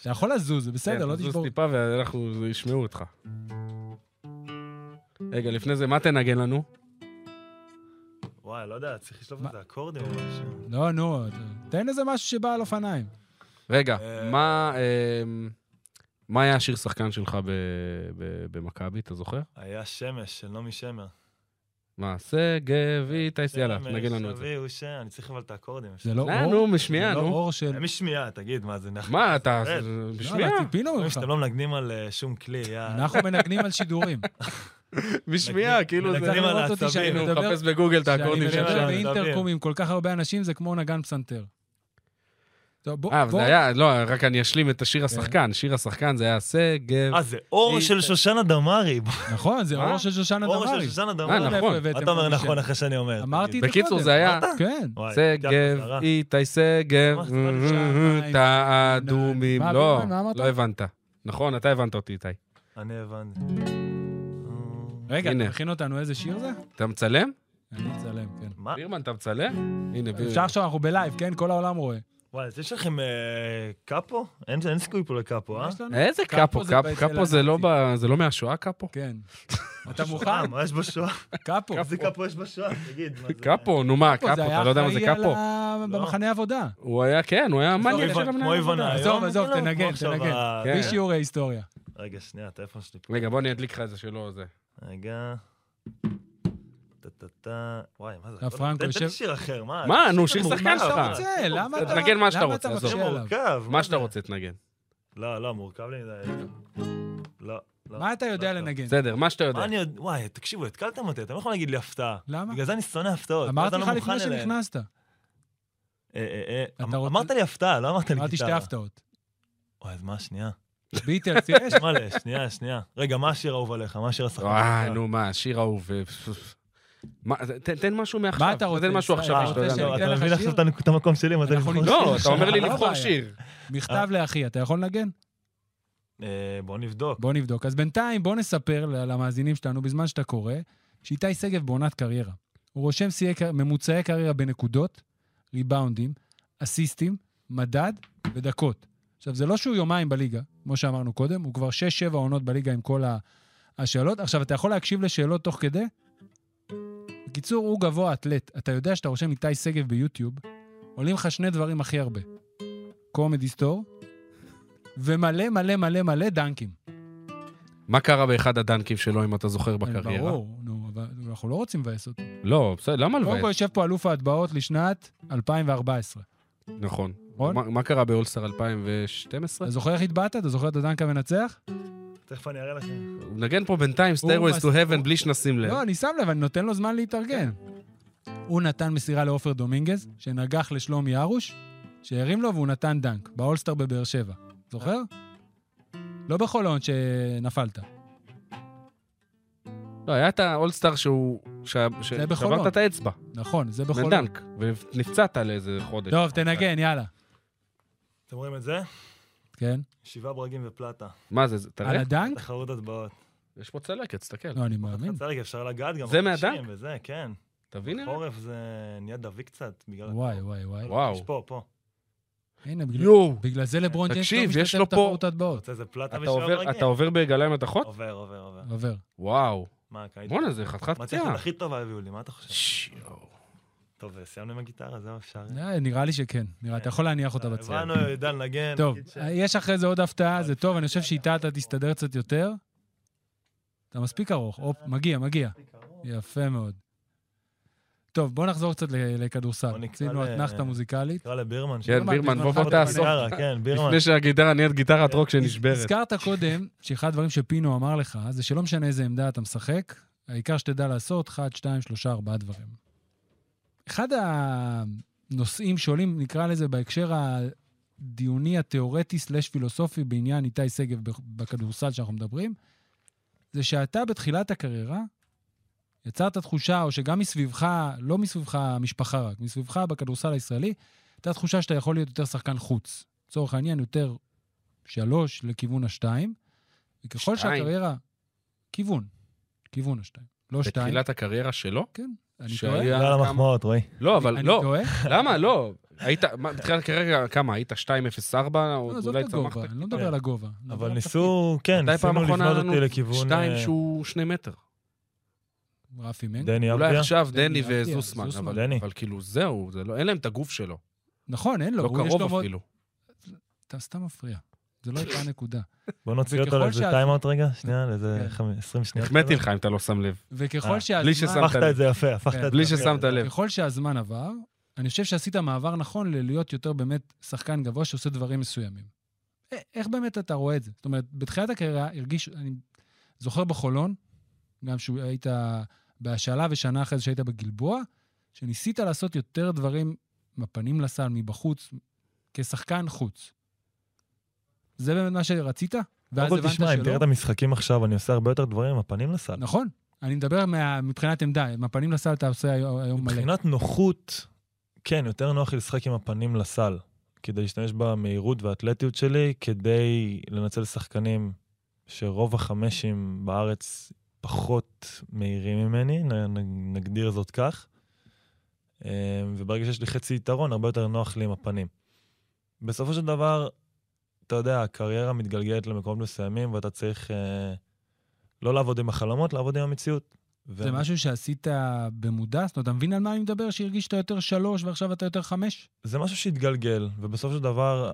S1: אתה יכול לזוז, זה
S2: כן,
S1: בסדר, לא
S2: תזוז
S1: תשבור.
S2: טיפה ואנחנו ישמעו אותך. רגע, לפני זה, מה תנגן לנו?
S4: וואי, לא יודע, צריך לשלוף
S1: מה?
S4: איזה אקורדים או משהו.
S1: לא, נו, אתה- תן איזה משהו שבא על אופניים.
S2: רגע,
S4: אה,
S2: מה אמ, מה היה השיר שחקן שלך ב- ב- במכבי, אתה זוכר?
S4: היה שמש של נעמי שמר.
S2: מה, שגב
S1: אה,
S2: איטייס, יאללה,
S4: שמש,
S2: תנגן לנו את זה.
S4: אביהו ש... אני צריך אבל את האקורדים.
S1: זה לא
S2: אה,
S1: אור,
S2: נו, משמיעה,
S1: זה לא
S2: נו.
S1: אור של...
S4: אין לי שמיעה, תגיד, מה זה נחמן?
S2: מה, אתה...
S4: רד.
S2: משמיעה,
S1: אה, לא, אבל ציפינו
S4: רואים
S1: ממך.
S4: שאתם לא מנגנים על אה, שום כלי, יא.
S1: אנחנו מנגנים על שידורים.
S2: (laughs) משמיעה, כאילו זה...
S4: מנגנים
S1: צריך
S4: על
S1: לראות אותי
S4: העצבים,
S1: שאני
S2: כאילו,
S1: מדבר
S2: מחפש בגוגל את
S1: כשאני
S2: האקורדים
S4: שאני
S2: שלך.
S1: מדבר
S4: שם.
S1: באינטרקום עם כל כך הרבה אנשים, זה כמו נגן פסנתר. טוב, בוא,
S2: אה, אבל
S1: בוא, כן.
S2: זה היה, לא, רק אני אשלים את השיר השחקן. שיר השחקן זה היה שגב...
S4: אה, זה אור
S2: אי-
S4: של שושנה דמארי.
S1: נכון, זה
S2: מה?
S1: אור של שושנה
S4: אור של
S1: דמארי.
S4: שושנה
S1: לא
S4: דמארי.
S1: יודע
S2: נכון.
S1: איפה הבאתם
S4: אתה אומר
S1: את השם.
S4: נכון אחרי שאני אומר.
S1: אמרתי את זה קודם.
S2: בקיצור, זה היה-
S1: כן.
S4: וואי,
S2: שגב,
S4: לוקח חזרה.
S2: איתי שגב,
S4: מה, סתם
S1: לשעתיים.
S2: את האדומים.
S1: מה,
S2: לא,
S1: ביטון, מה אמרת?
S2: לא הבנת. נכון, אתה הבנת אותי, איתי.
S4: אני הבנתי.
S1: רגע,
S2: הנה.
S1: אתה מכין אותנו איזה שיר זה?
S2: אתה מצלם?
S1: אני אצלם, כן.
S4: מה?
S2: בירמן, אתה מצלם? הנה,
S1: אפשר
S2: בירמן.
S1: עכשיו, אנחנו בלייב, כן? כל העולם רואה.
S4: וואי, אז יש לכם אה, קאפו? אין אין סיכוי פה לקאפו, אה?
S1: יש לנו?
S2: איזה
S1: קאפו
S2: קאפו,
S1: זה
S2: קאפ-
S1: בית של
S2: קאפו זה לא
S1: הנאצים.
S2: ב- זה לא מהשואה קאפו?
S1: כן. אתה
S4: אה,
S2: (laughs)
S1: מוכן?
S4: מה יש בשואה?
S1: קאפו.
S4: איזה קאפו יש בשואה? תגיד, מה זה?
S2: קאפו, נו מה, קאפו,
S1: זה היה
S2: אתה לא יודע מה זה
S1: אחראי
S2: קאפו.
S1: על ה-
S4: לא.
S1: במחנה עבודה.
S2: הוא היה, כן, הוא היה
S1: עזוב,
S2: מניאק
S1: איבן-
S2: של המנהל.
S4: כמו איוון
S2: עבודה.
S1: עזוב,
S4: היום?
S1: עזוב,
S4: כאילו?
S1: תנגן,
S4: כמו עכשיו
S1: תנגן.
S4: ה-
S2: כן.
S1: בלי שיעורי היסטוריה.
S4: רגע, שנייה, הטלפון שלי פה.
S2: רגע, בוא אני אדליק לך את זה שלא זה.
S4: רגע. טה-טה-טה. וואי, מה זה?
S1: רב פרנקו
S4: תן
S1: יושב-
S4: לי שיר אחר, מה?
S2: מה,
S4: תן לי
S2: נו, שיר
S4: שיר מורכב.
S2: שחקן
S1: מה שאתה
S2: שלך.
S1: רוצה, למה אתה... לא-
S2: תנגן מה שאתה
S1: למה
S2: רוצה,
S1: אתה
S2: עזוב.
S4: שיר
S1: מקשה עליו?
S4: מורכב.
S2: מה
S4: זה?
S2: שאתה רוצה תנגן.
S4: לא, לא, מורכב לי מדי. לא, לא.
S1: מה אתה יודע
S4: לא, לא.
S1: לנגן?
S2: בסדר, מה שאתה יודע.
S4: מה אני יודע? וואי, תקשיבו, התקלתם אותי, אתם לא יכולים להגיד לי הפתעה.
S1: למה?
S4: בגלל זה אני שונא הפתעות.
S1: אמרתי
S4: אתה לא
S1: לך לפני
S4: מוכן אליהן.
S1: שנכנסת.
S4: אה, אה,
S1: אתה
S4: אה, אמ-
S1: רוצה-
S4: אמרת לי הפתעה, לא אמרת לי גיטרה.
S1: אמרתי שתי הפתעות.
S4: וואי, אז מה השנייה?
S1: ביטלס, יש?
S4: מלא, שנייה, שנייה. רגע, מה השיר האהוב עליך? מה השיר השחקן?
S2: וואי,
S4: שלך?
S2: נו מה, שיר אהוב. אה, פס, פס. מה, תן- תן משהו מעכשיו.
S1: אתה רוצה,
S2: תן משהו
S1: ישראל?
S2: עכשיו
S4: אה,
S2: שאתה
S1: רוצה
S2: יודע.
S1: שאני
S4: לא,
S1: אתן
S4: אתה
S1: לך
S4: מבין
S1: שיר?
S4: עכשיו את הנק- את המקום שלי, מה זה
S1: אנחנו
S4: לבחור
S1: נבדוק.
S2: לא,
S4: שיר?
S2: אתה אומר לי
S1: לא
S2: לבחור
S1: בעיה.
S2: שיר.
S1: מכתב לאחי, אתה יכול לנגן?
S4: אה, בוא נבדוק.
S1: בוא נבדוק. אז בינתיים, בוא נספר ל- למאזינים שלנו, בזמן שאתה קורא, שאיתי שגב בעונת קריירה. הוא רושם שיאי קר- ממוצעי קריירה בנקודות, ריבאונדים, אסיסטים, מדד ודקות. עכשיו, זה לא שהוא יומיים בליגה, כמו שאמרנו קודם, הוא כבר 6-7 עונות בליגה עם כל ה- השאלות. עכשיו, אתה יכול להקשיב לשאלות תוך כדי? בקיצור, הוא גבוה אתלט. אתה יודע שאתה רושם איתי שגב ביוטיוב, עולים לך שני דברים הכי הרבה. קומדי סטור, ומלא מלא מלא מלא דנקים.
S2: מה קרה באחד הדנקים שלו, אם אתה זוכר, בקריירה?
S1: כן, ברור, נו, אבל אנחנו לא רוצים לבאס אותו.
S2: לא, בסדר, למה
S1: קודם כל
S2: לבאס?
S1: יושב פה אלוף ההטבעות לשנת 2014.
S2: נכון.
S1: נכון?
S2: מה- מה קרה באולסטאר 2012?
S1: אתה זוכר איך התבעת? אתה זוכר את הדנק המנצח?
S4: תכף אני אראה לכם.
S2: הוא מנגן פה בינתיים Stairways
S1: מס-
S2: to Heaven בלי שנשים לב.
S1: לא, אני שם לב, אני נותן לו זמן להתארגן. הוא נתן מסירה לעופר דומינגז, שנגח לשלומי ארוש, שהרים לו והוא נתן דנק, באולסטאר בבאר שבע. זוכר? לא בכל הון שנפלת.
S2: לא, היה את האולסטאר שהוא... שה- ש-
S1: זה בחולון.
S2: שברת את האצבע,
S1: נכון, זה בכל הון.
S2: נדנק, ונפצעת לאיזה חודש.
S1: טוב, תנגן, יאללה.
S4: אתם רואים את זה?
S1: כן.
S4: שבעה ברגים ופלטה.
S2: מה זה, זה-
S1: על
S2: תראה?
S1: הדנק?
S4: תחרות הטבעות.
S2: יש פה צלקת, תסתכל.
S1: לא, אני מאמין.
S4: חצי רגע, אפשר לגעת גם.
S2: זה
S4: בחודשים
S2: מהדק?
S4: וזה, כן.
S2: תבין נראה.
S4: חורף זה נהיה דביק קצת. בגלל...
S1: וואי, וואי, וואי.
S4: יש
S2: וואו.
S4: פה, פה.
S1: הנה, בגלל-
S2: יואו.
S1: בגלל זה לברון ג'יימס לא
S2: תקשיב, יש
S1: משתתף
S2: לו פה-
S1: בתחרות הטבעות.
S4: רוצה איזה פלטה
S2: אתה
S4: ושבעה
S2: עובר-
S4: ברגים?
S2: אתה עובר ברגליים מתכות?
S4: עובר, עובר, עובר.
S1: עובר.
S2: וואו.
S4: מה, הקיץ?
S2: בואנה, זה חתיכת
S4: מתכת
S2: פציעה.
S4: הכי טובה הביאו לי, מה אתה חושב?
S2: ש- יואו.
S4: טוב, סיימנו עם הגיטרה, זהו, אפשר.
S1: אה, נראה לי שכן. נראה, אתה יכול להניח אותה בצד.
S4: הבנו, יודע לנגן.
S1: טוב,
S4: נגיד ש-
S1: יש אחרי זה עוד הפתעה, זה טוב, אני חושב שאיתה אתה תסתדר קצת יותר. אתה מספיק ארוך, הופ, מגיע, מגיע. יפה מאוד. טוב, בוא נחזור קצת ל-
S4: בוא
S1: לכדורסל.
S4: נקרא
S1: עשינו
S4: ל-
S1: אתנחתא מוזיקלית.
S4: נקרא לבירמן.
S2: כן, בירמן, בוא בוא
S1: בזמנך
S2: תאסוף.
S4: גיטרה, כן, בירמן.
S2: לפני שהגיטרה נהיית גיטרת רוק שנשברת.
S1: הזכרת קודם שאחד הדברים שפינו אמר לך, זה שלא משנה איזה עמדה אתה משחק, העיקר שתדע לעשות 1, 2, 3, 4 דברים. אחד הנושאים שעולים, נקרא לזה בהקשר הדיוני התיאורטי סלש פילוסופי בעניין איתי שגב בכ- בכדורסל שאנחנו מדברים, זה שאתה בתחילת הקריירה יצרת תחושה, או שגם מסביבך, לא מסביבך המשפחה רק, מסביבך בכדורסל הישראלי, הייתה תחושה שאתה יכול להיות יותר שחקן חוץ. לצורך העניין, יותר שלוש לכיוון השתיים, וככל
S2: שתיים?
S1: שהקריירה... כיוון, כיוון השתיים. לא שתיים.
S2: בתחילת הקריירה שלו?
S1: אני
S2: שהיה-
S1: טועה?
S4: תודה על המחמאות, רועי.
S2: לא, אבל
S1: אני
S2: לא. (laughs)
S1: טועה?
S2: למה? לא. היית, מה, בתחילת כרגע, כמה? היית 2.04?
S1: לא,
S2: עוד
S1: עזוב
S2: אולי
S1: את הגובה,
S2: צמחת?
S1: אני לא מדבר על הגובה. אני מדבר
S4: אבל
S1: על
S4: ניסו, כן,
S2: מתי פעם
S4: ניסינו
S2: אחרונה
S4: לבנות
S2: לנו
S4: אותי לכיוון...
S2: שתיים
S4: אה,
S2: שהוא שני מטר.
S1: תפקיד. רפי מנק.
S4: דני
S2: אולי
S4: אבדיה.
S2: עכשיו
S1: דני
S2: דני
S1: אבדיה,
S2: וזוסמן,
S1: זוסמן.
S2: אבל
S4: דני.
S2: אבל כאילו זהו, זה לא- אין להם את הגוף שלו.
S1: נכון, אין לו.
S2: לא
S1: הוא- יש לו
S2: קרוב
S1: מאוד-
S2: אפילו.
S1: אתה סתם מפריע. זה לא הייתה הנקודה.
S4: בוא נוציא אותו
S1: וככל
S4: לאיזה
S1: שה-
S4: טיימאוט רגע, שנייה, לאיזה
S1: כן.
S4: חמ- 20 שניות.
S2: החמאתי לך אם אתה לא שם לב.
S1: וככל
S4: אה,
S1: שהזמן...
S2: בלי ששמת
S4: הפכת את זה יפה, הפכת את
S1: כן.
S4: זה. אוקיי.
S2: בלי
S4: יפה.
S2: ששמת לב.
S1: ככל שהזמן עבר, אני חושב שעשית מעבר נכון ללהיות יותר באמת שחקן גבוה שעושה דברים מסוימים. א- איך באמת אתה רואה את זה? זאת אומרת, בתחילת הקריירה הרגיש, אני זוכר בחולון, גם שהיית בהשאלה ושנה אחרי זה שהיית בגלבוע, שניסית לעשות יותר דברים עם הפנים לסל, מבחוץ, כשחקן חוץ. זה באמת מה שרצית?
S4: קודם
S1: ואז
S4: כל
S1: הבנת
S4: תשמע, אם תראה
S1: שלא?
S4: את המשחקים עכשיו, אני עושה הרבה יותר דברים עם הפנים לסל.
S1: נכון. אני מדבר מה- מבחינת עמדה, עם הפנים לסל אתה עושה היום היום מלא.
S4: מבחינת נוחות, כן, יותר נוח לי לשחק עם הפנים לסל, כדי להשתמש במהירות והאתלטיות שלי, כדי לנצל שחקנים שרוב החמשים בארץ פחות מהירים ממני, נ- נ- נגדיר זאת כך. אמ, וברגע שיש לי חצי יתרון, הרבה יותר נוח לי עם הפנים. בסופו של דבר, אתה יודע, הקריירה מתגלגלת למקומות מסוימים, ואתה צריך אה, לא לעבוד עם החלומות, לעבוד עם המציאות.
S1: זה משהו שעשית במודע? זאת אומרת, אתה מבין על מה אני מדבר? שהרגישת יותר שלוש ועכשיו אתה יותר חמש?
S4: זה משהו שהתגלגל, ובסופו של דבר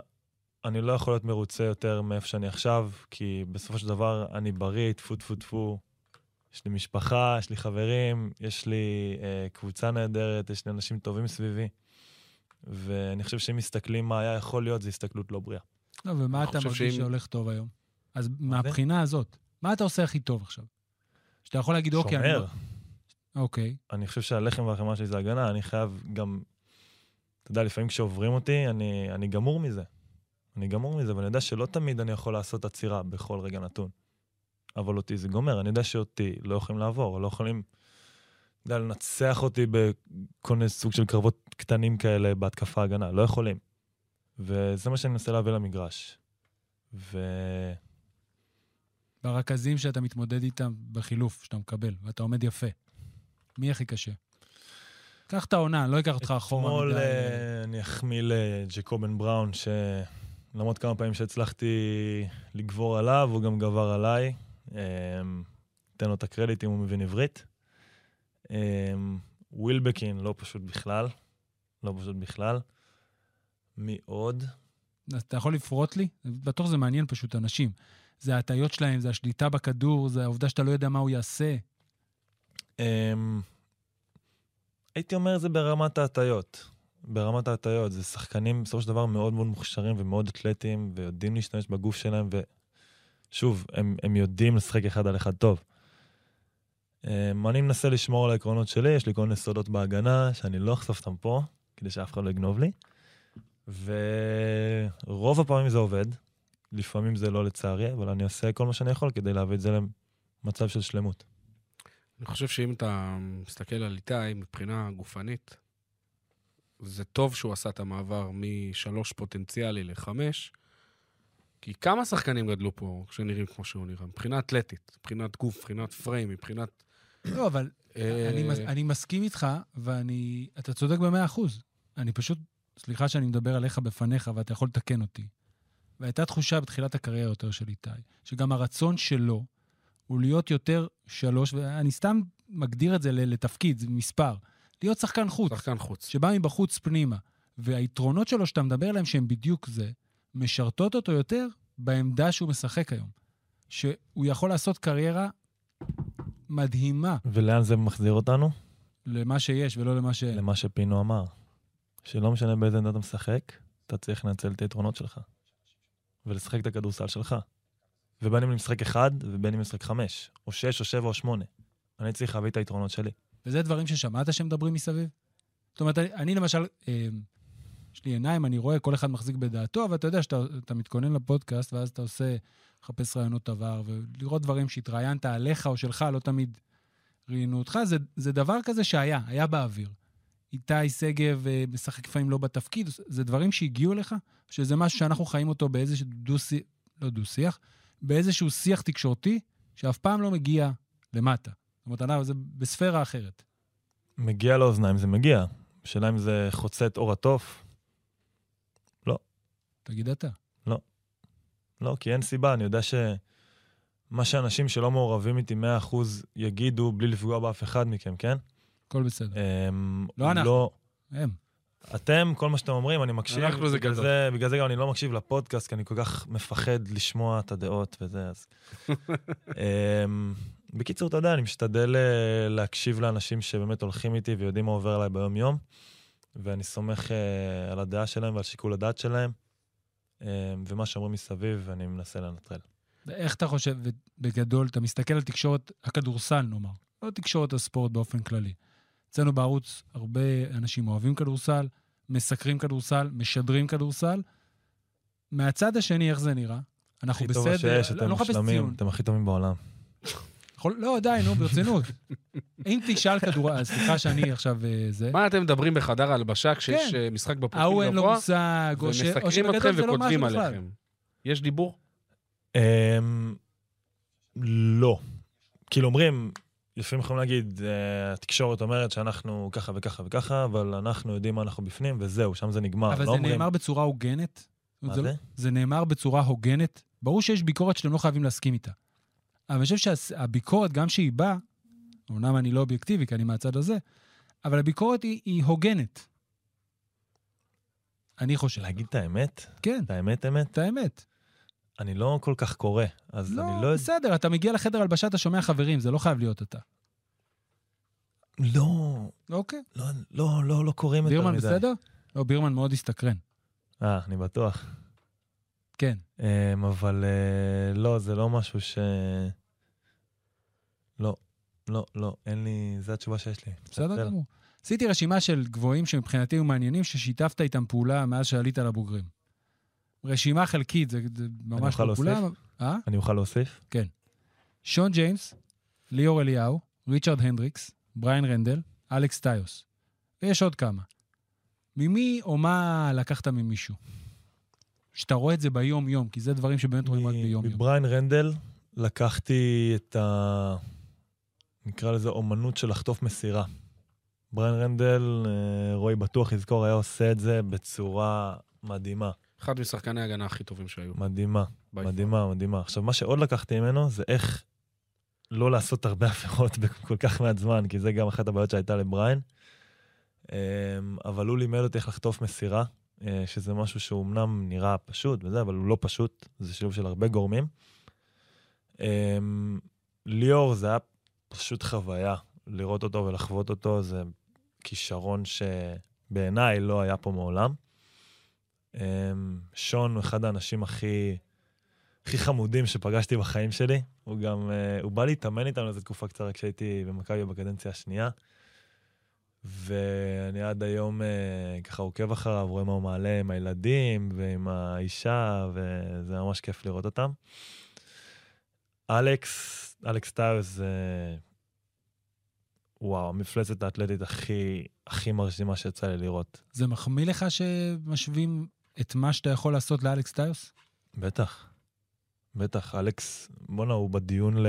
S4: אני לא יכול להיות מרוצה יותר מאיפה שאני עכשיו, כי בסופו של דבר אני בריא, טפו טפו טפו. יש לי משפחה, יש לי חברים, יש לי אה, קבוצה נהדרת, יש לי אנשים טובים סביבי. ואני חושב שאם מסתכלים מה היה יכול להיות, זו הסתכלות לא בריאה.
S1: לא, ומה
S2: אני
S1: אתה
S2: חושב
S1: מרגיש
S2: שאם-
S1: שהולך טוב היום? אז מהבחינה הזאת, מה אתה עושה הכי טוב עכשיו? שאתה יכול להגיד, אוקיי, אני...
S4: שומר.
S1: לא- אוקיי,
S4: אני חושב שהלחם והחמאה שלי זה הגנה, אני חייב גם... אתה יודע, לפעמים כשעוברים אותי, אני, אני גמור מזה. אני גמור מזה, ואני יודע שלא תמיד אני יכול לעשות עצירה בכל רגע נתון. אבל אותי זה גומר, אני יודע שאותי לא יכולים לעבור, לא יכולים אתה יודע, לנצח אותי בכל מיני סוג של קרבות קטנים כאלה בהתקפה הגנה, לא יכולים. וזה מה שאני מנסה להביא למגרש. וכן,
S1: ברכזים שאתה מתמודד איתם בחילוף, שאתה מקבל, ואתה עומד יפה. מי הכי קשה? קח את העונה, אני לא אקח אותך אחורה
S4: אתמול
S1: מדי.
S4: אה, אני אחמיא לג'קובן בראון, שלמרות כמה פעמים שהצלחתי לגבור עליו, הוא גם גבר עליי. אה, אתן לו את הקרדיט אם הוא מבין עברית. אה, ווילבקין, לא פשוט בכלל. לא פשוט בכלל. מי עוד?
S1: אז אתה יכול לפרוט לי? בטוח זה מעניין פשוט אנשים. זה ההטיות שלהם, זה השליטה בכדור, זה העובדה שאתה לא יודע מה הוא יעשה.
S4: אמ, הייתי אומר זה ברמת ההטיות. ברמת ההטיות. זה שחקנים בסופו של דבר מאוד מאוד מוכשרים ומאוד אתלטיים, ויודעים להשתמש בגוף שלהם, ושוב, הם, הם יודעים לשחק אחד על אחד טוב. אמ, אני מנסה לשמור על העקרונות שלי, יש לי כל מיני סודות בהגנה, שאני לא אחשוף אותם פה, כדי שאף אחד לא יגנוב לי. ורוב הפעמים זה עובד, לפעמים זה לא לצערי, אבל אני עושה כל מה שאני יכול כדי להביא את זה למצב של שלמות.
S2: אני חושב שאם אתה מסתכל על איתי מבחינה גופנית, זה טוב שהוא עשה את המעבר משלוש פוטנציאלי לחמש, כי כמה שחקנים גדלו פה כשנראים כמו שהוא נראה, מבחינה אתלטית, מבחינת גוף, מבחינת פריים, מבחינת...
S1: לא, אבל
S2: אה,
S1: אני, מס- אני מסכים איתך, ואני... אתה צודק במאה אחוז. אני פשוט... סליחה שאני מדבר עליך בפניך, ואתה יכול לתקן אותי. והייתה תחושה בתחילת הקריירה יותר של איתי, שגם הרצון שלו הוא להיות יותר שלוש, ואני סתם מגדיר את זה ל- לתפקיד, זה מספר. להיות שחקן חוץ.
S2: שחקן חוץ.
S1: שבא מבחוץ פנימה, והיתרונות שלו שאתה מדבר עליהם, שהם בדיוק זה, משרתות אותו יותר בעמדה שהוא משחק היום. שהוא יכול לעשות קריירה מדהימה
S4: ולאן זה מחזיר אותנו?
S1: למה שיש ולא למה ש...
S4: למה שפינו אמר, שלא משנה באיזה עמדה אתה משחק, אתה צריך לנצל את היתרונות שלך, ולשחק את הכדורסל שלך. ובין אם למשחק אחד, ובין אם למשחק חמש, או שש, או שבע, או שמונה. אני צריך להביא את היתרונות שלי.
S1: וזה דברים ששמעת שמדברים מסביב? זאת אומרת, אני, אני למשל, אה, יש לי עיניים, אני רואה, כל אחד מחזיק בדעתו, אבל אתה יודע שאתה אתה מתכונן לפודקאסט, ואז אתה עושה, מחפש רעיונות עבר, ולראות דברים שהתראיינת עליך או שלך, לא תמיד ראיינו אותך, זה, זה דבר כזה שהיה, היה באוויר. איתי שגב אה, משחק לפעמים לא בתפקיד, זה דברים שהגיעו לך, שזה משהו שאנחנו חיים אותו באיזשהו דו-שיח, לא דו-שיח, באיזשהו שיח תקשורתי, שאף פעם לא מגיע למטה. זאת אומרת, אנחנו- זה בספירה אחרת.
S4: מגיע לאוזניים, זה מגיע. השאלה אם זה חוצה את אור התוף.
S1: תגיד אתה.
S4: לא, כי אין סיבה, אני יודע שמה שאנשים שלא מעורבים איתי 100% יגידו בלי לפגוע באף אחד מכם, כן?
S1: הכל בסדר.
S4: אמ,
S1: לא אנחנו.
S4: לא,
S1: הם.
S4: אתם, כל מה שאתם אומרים, אני מקשיב.
S2: אנחנו זה
S4: בגלל
S2: גדול.
S4: לא זה, בגלל זה גם אני לא מקשיב לפודקאסט, כי אני כל כך מפחד לשמוע את הדעות וזה,
S1: (laughs)
S4: אז... אמ, בקיצור, אתה יודע, אני משתדל אה, להקשיב לאנשים שבאמת הולכים איתי ויודעים מה עובר עליי ביום-יום, ואני סומך אה, על הדעה שלהם ועל שיקול הדעת שלהם, אמ, ומה שאומרים מסביב, אני מנסה לנטרל.
S1: איך אתה חושב, בגדול, אתה מסתכל על תקשורת הכדורסל, נאמר, לא תקשורת הספורט באופן כללי. אצלנו בערוץ הרבה אנשים אוהבים כדורסל, מסקרים כדורסל, משדרים כדורסל. מהצד השני, איך זה נראה? אנחנו
S4: הכי
S1: בסדר,
S4: טוב שיש,
S1: אני
S4: אתם
S1: לא מחפש
S4: מושלמים,
S1: ציון.
S4: אתם הכי טובים בעולם.
S1: יכול- לא, די, נו, ברצינות. אם תשאל כדורסל, אה, סליחה שאני עכשיו אה, זה,
S2: מה אתם מדברים בחדר הלבשה כשיש
S1: כן.
S2: אה, משחק
S1: ההוא
S2: בפרופיל
S1: אין לו
S2: גבוה,
S1: מושג, או ש- או
S2: ומסקרים
S1: שבגדול
S2: אתכם
S1: זה לא משהו
S2: וכותבים
S1: בכלל.
S2: עליכם? יש דיבור?
S4: אמ, לא. כאילו אומרים, לפעמים יכולים להגיד, אה, התקשורת אומרת שאנחנו ככה וככה וככה, אבל אנחנו יודעים מה אנחנו בפנים, וזהו, שם זה נגמר.
S1: אבל
S4: לא
S1: זה
S4: אומרים,
S1: נאמר בצורה הוגנת? זאת אומרת, זה
S4: מה
S1: לא-
S4: זה?
S1: זה נאמר בצורה הוגנת. ברור שיש ביקורת שאתם לא חייבים להסכים איתה. אבל אני חושב שהביקורת, גם שהיא באה, אמנם אני לא אובייקטיבי, כי אני מהצד הזה, אבל הביקורת היא, היא הוגנת. אני חושב.
S4: להגיד את האמת?
S1: כן,
S4: את האמת אמת?
S1: את האמת.
S4: אני לא כל כך קורא, אז
S1: לא,
S4: אני לא יודע.
S1: בסדר, אתה מגיע לחדר הלבשה, אתה שומע חברים, זה לא חייב להיות אתה.
S4: לא,
S1: אוקיי.
S4: לא, לא, לא, לא קוראים יותר מדי.
S1: בירמן בסדר? לא, בירמן מאוד הסתקרן.
S4: אה, אני בטוח.
S1: כן.
S4: אמ, אבל אה, לא, זה לא משהו ש... לא, לא, לא, אין לי... זו התשובה שיש לי.
S1: בסדר גמור. עשיתי רשימה של גבוהים שמבחינתי היו מעניינים, ששיתפת איתם פעולה מאז שעלית לבוגרים. רשימה חלקית, זה, זה ממש
S4: אוכל
S1: לא
S4: להוסיף?
S1: כולם. אה?
S4: אני אוכל להוסיף?
S1: שון ג'יימס, ליאור אליהו, ריצ'רד הנדריקס, בריין רנדל, אלכס טיוס. ויש עוד כמה. ממי או מה לקחת ממישהו? שאתה רואה את זה ביום-יום, כי זה דברים שבאמת רואים רק
S4: מ-
S1: ביום-יום.
S4: מבריין רנדל לקחתי את ה... נקרא לזה אומנות של לחטוף מסירה. בריין רנדל, אה, רועי בטוח יזכור, היה עושה את זה בצורה מדהימה.
S2: אחד משחקני ההגנה הכי טובים שהיו.
S4: מדהימה,
S2: by far.
S4: מדהימה, מדהימה. עכשיו, מה שעוד לקחתי ממנו זה איך לא לעשות הרבה עבירות (laughs) בכל כך מעט זמן, כי זה גם אחת הבעיות שהייתה לבריין. אמ, אבל הוא לימד אותי איך לחטוף מסירה, אה, שזה משהו שאומנם נראה פשוט וזה, אבל הוא לא פשוט, זה שילוב של הרבה גורמים. אמ, ליאור, זה היה פשוט חוויה. לראות אותו ולחוות אותו זה כישרון שבעיניי לא היה פה מעולם. אמ, שון הוא אחד האנשים הכי, הכי חמודים שפגשתי בחיים שלי. הוא גם, אה, הוא בא להתאמן איתנו איזו תקופה קצרה כשהייתי במכבי בקדנציה השנייה. ואני עד היום אה, ככה עוקב אחריו, רואה מה הוא מעלה עם הילדים ועם האישה, וזה ממש כיף לראות אותם. אלכס, אלכס טיוס זה, וואו, המפלצת האתלטית הכי, הכי מרשימה שיצא לי לראות.
S1: זה מחמיא לך שמשווים את מה שאתה יכול לעשות לאלכס טיוס?
S4: בטח, בטח. אלכס, בואנה, הוא בדיון ל...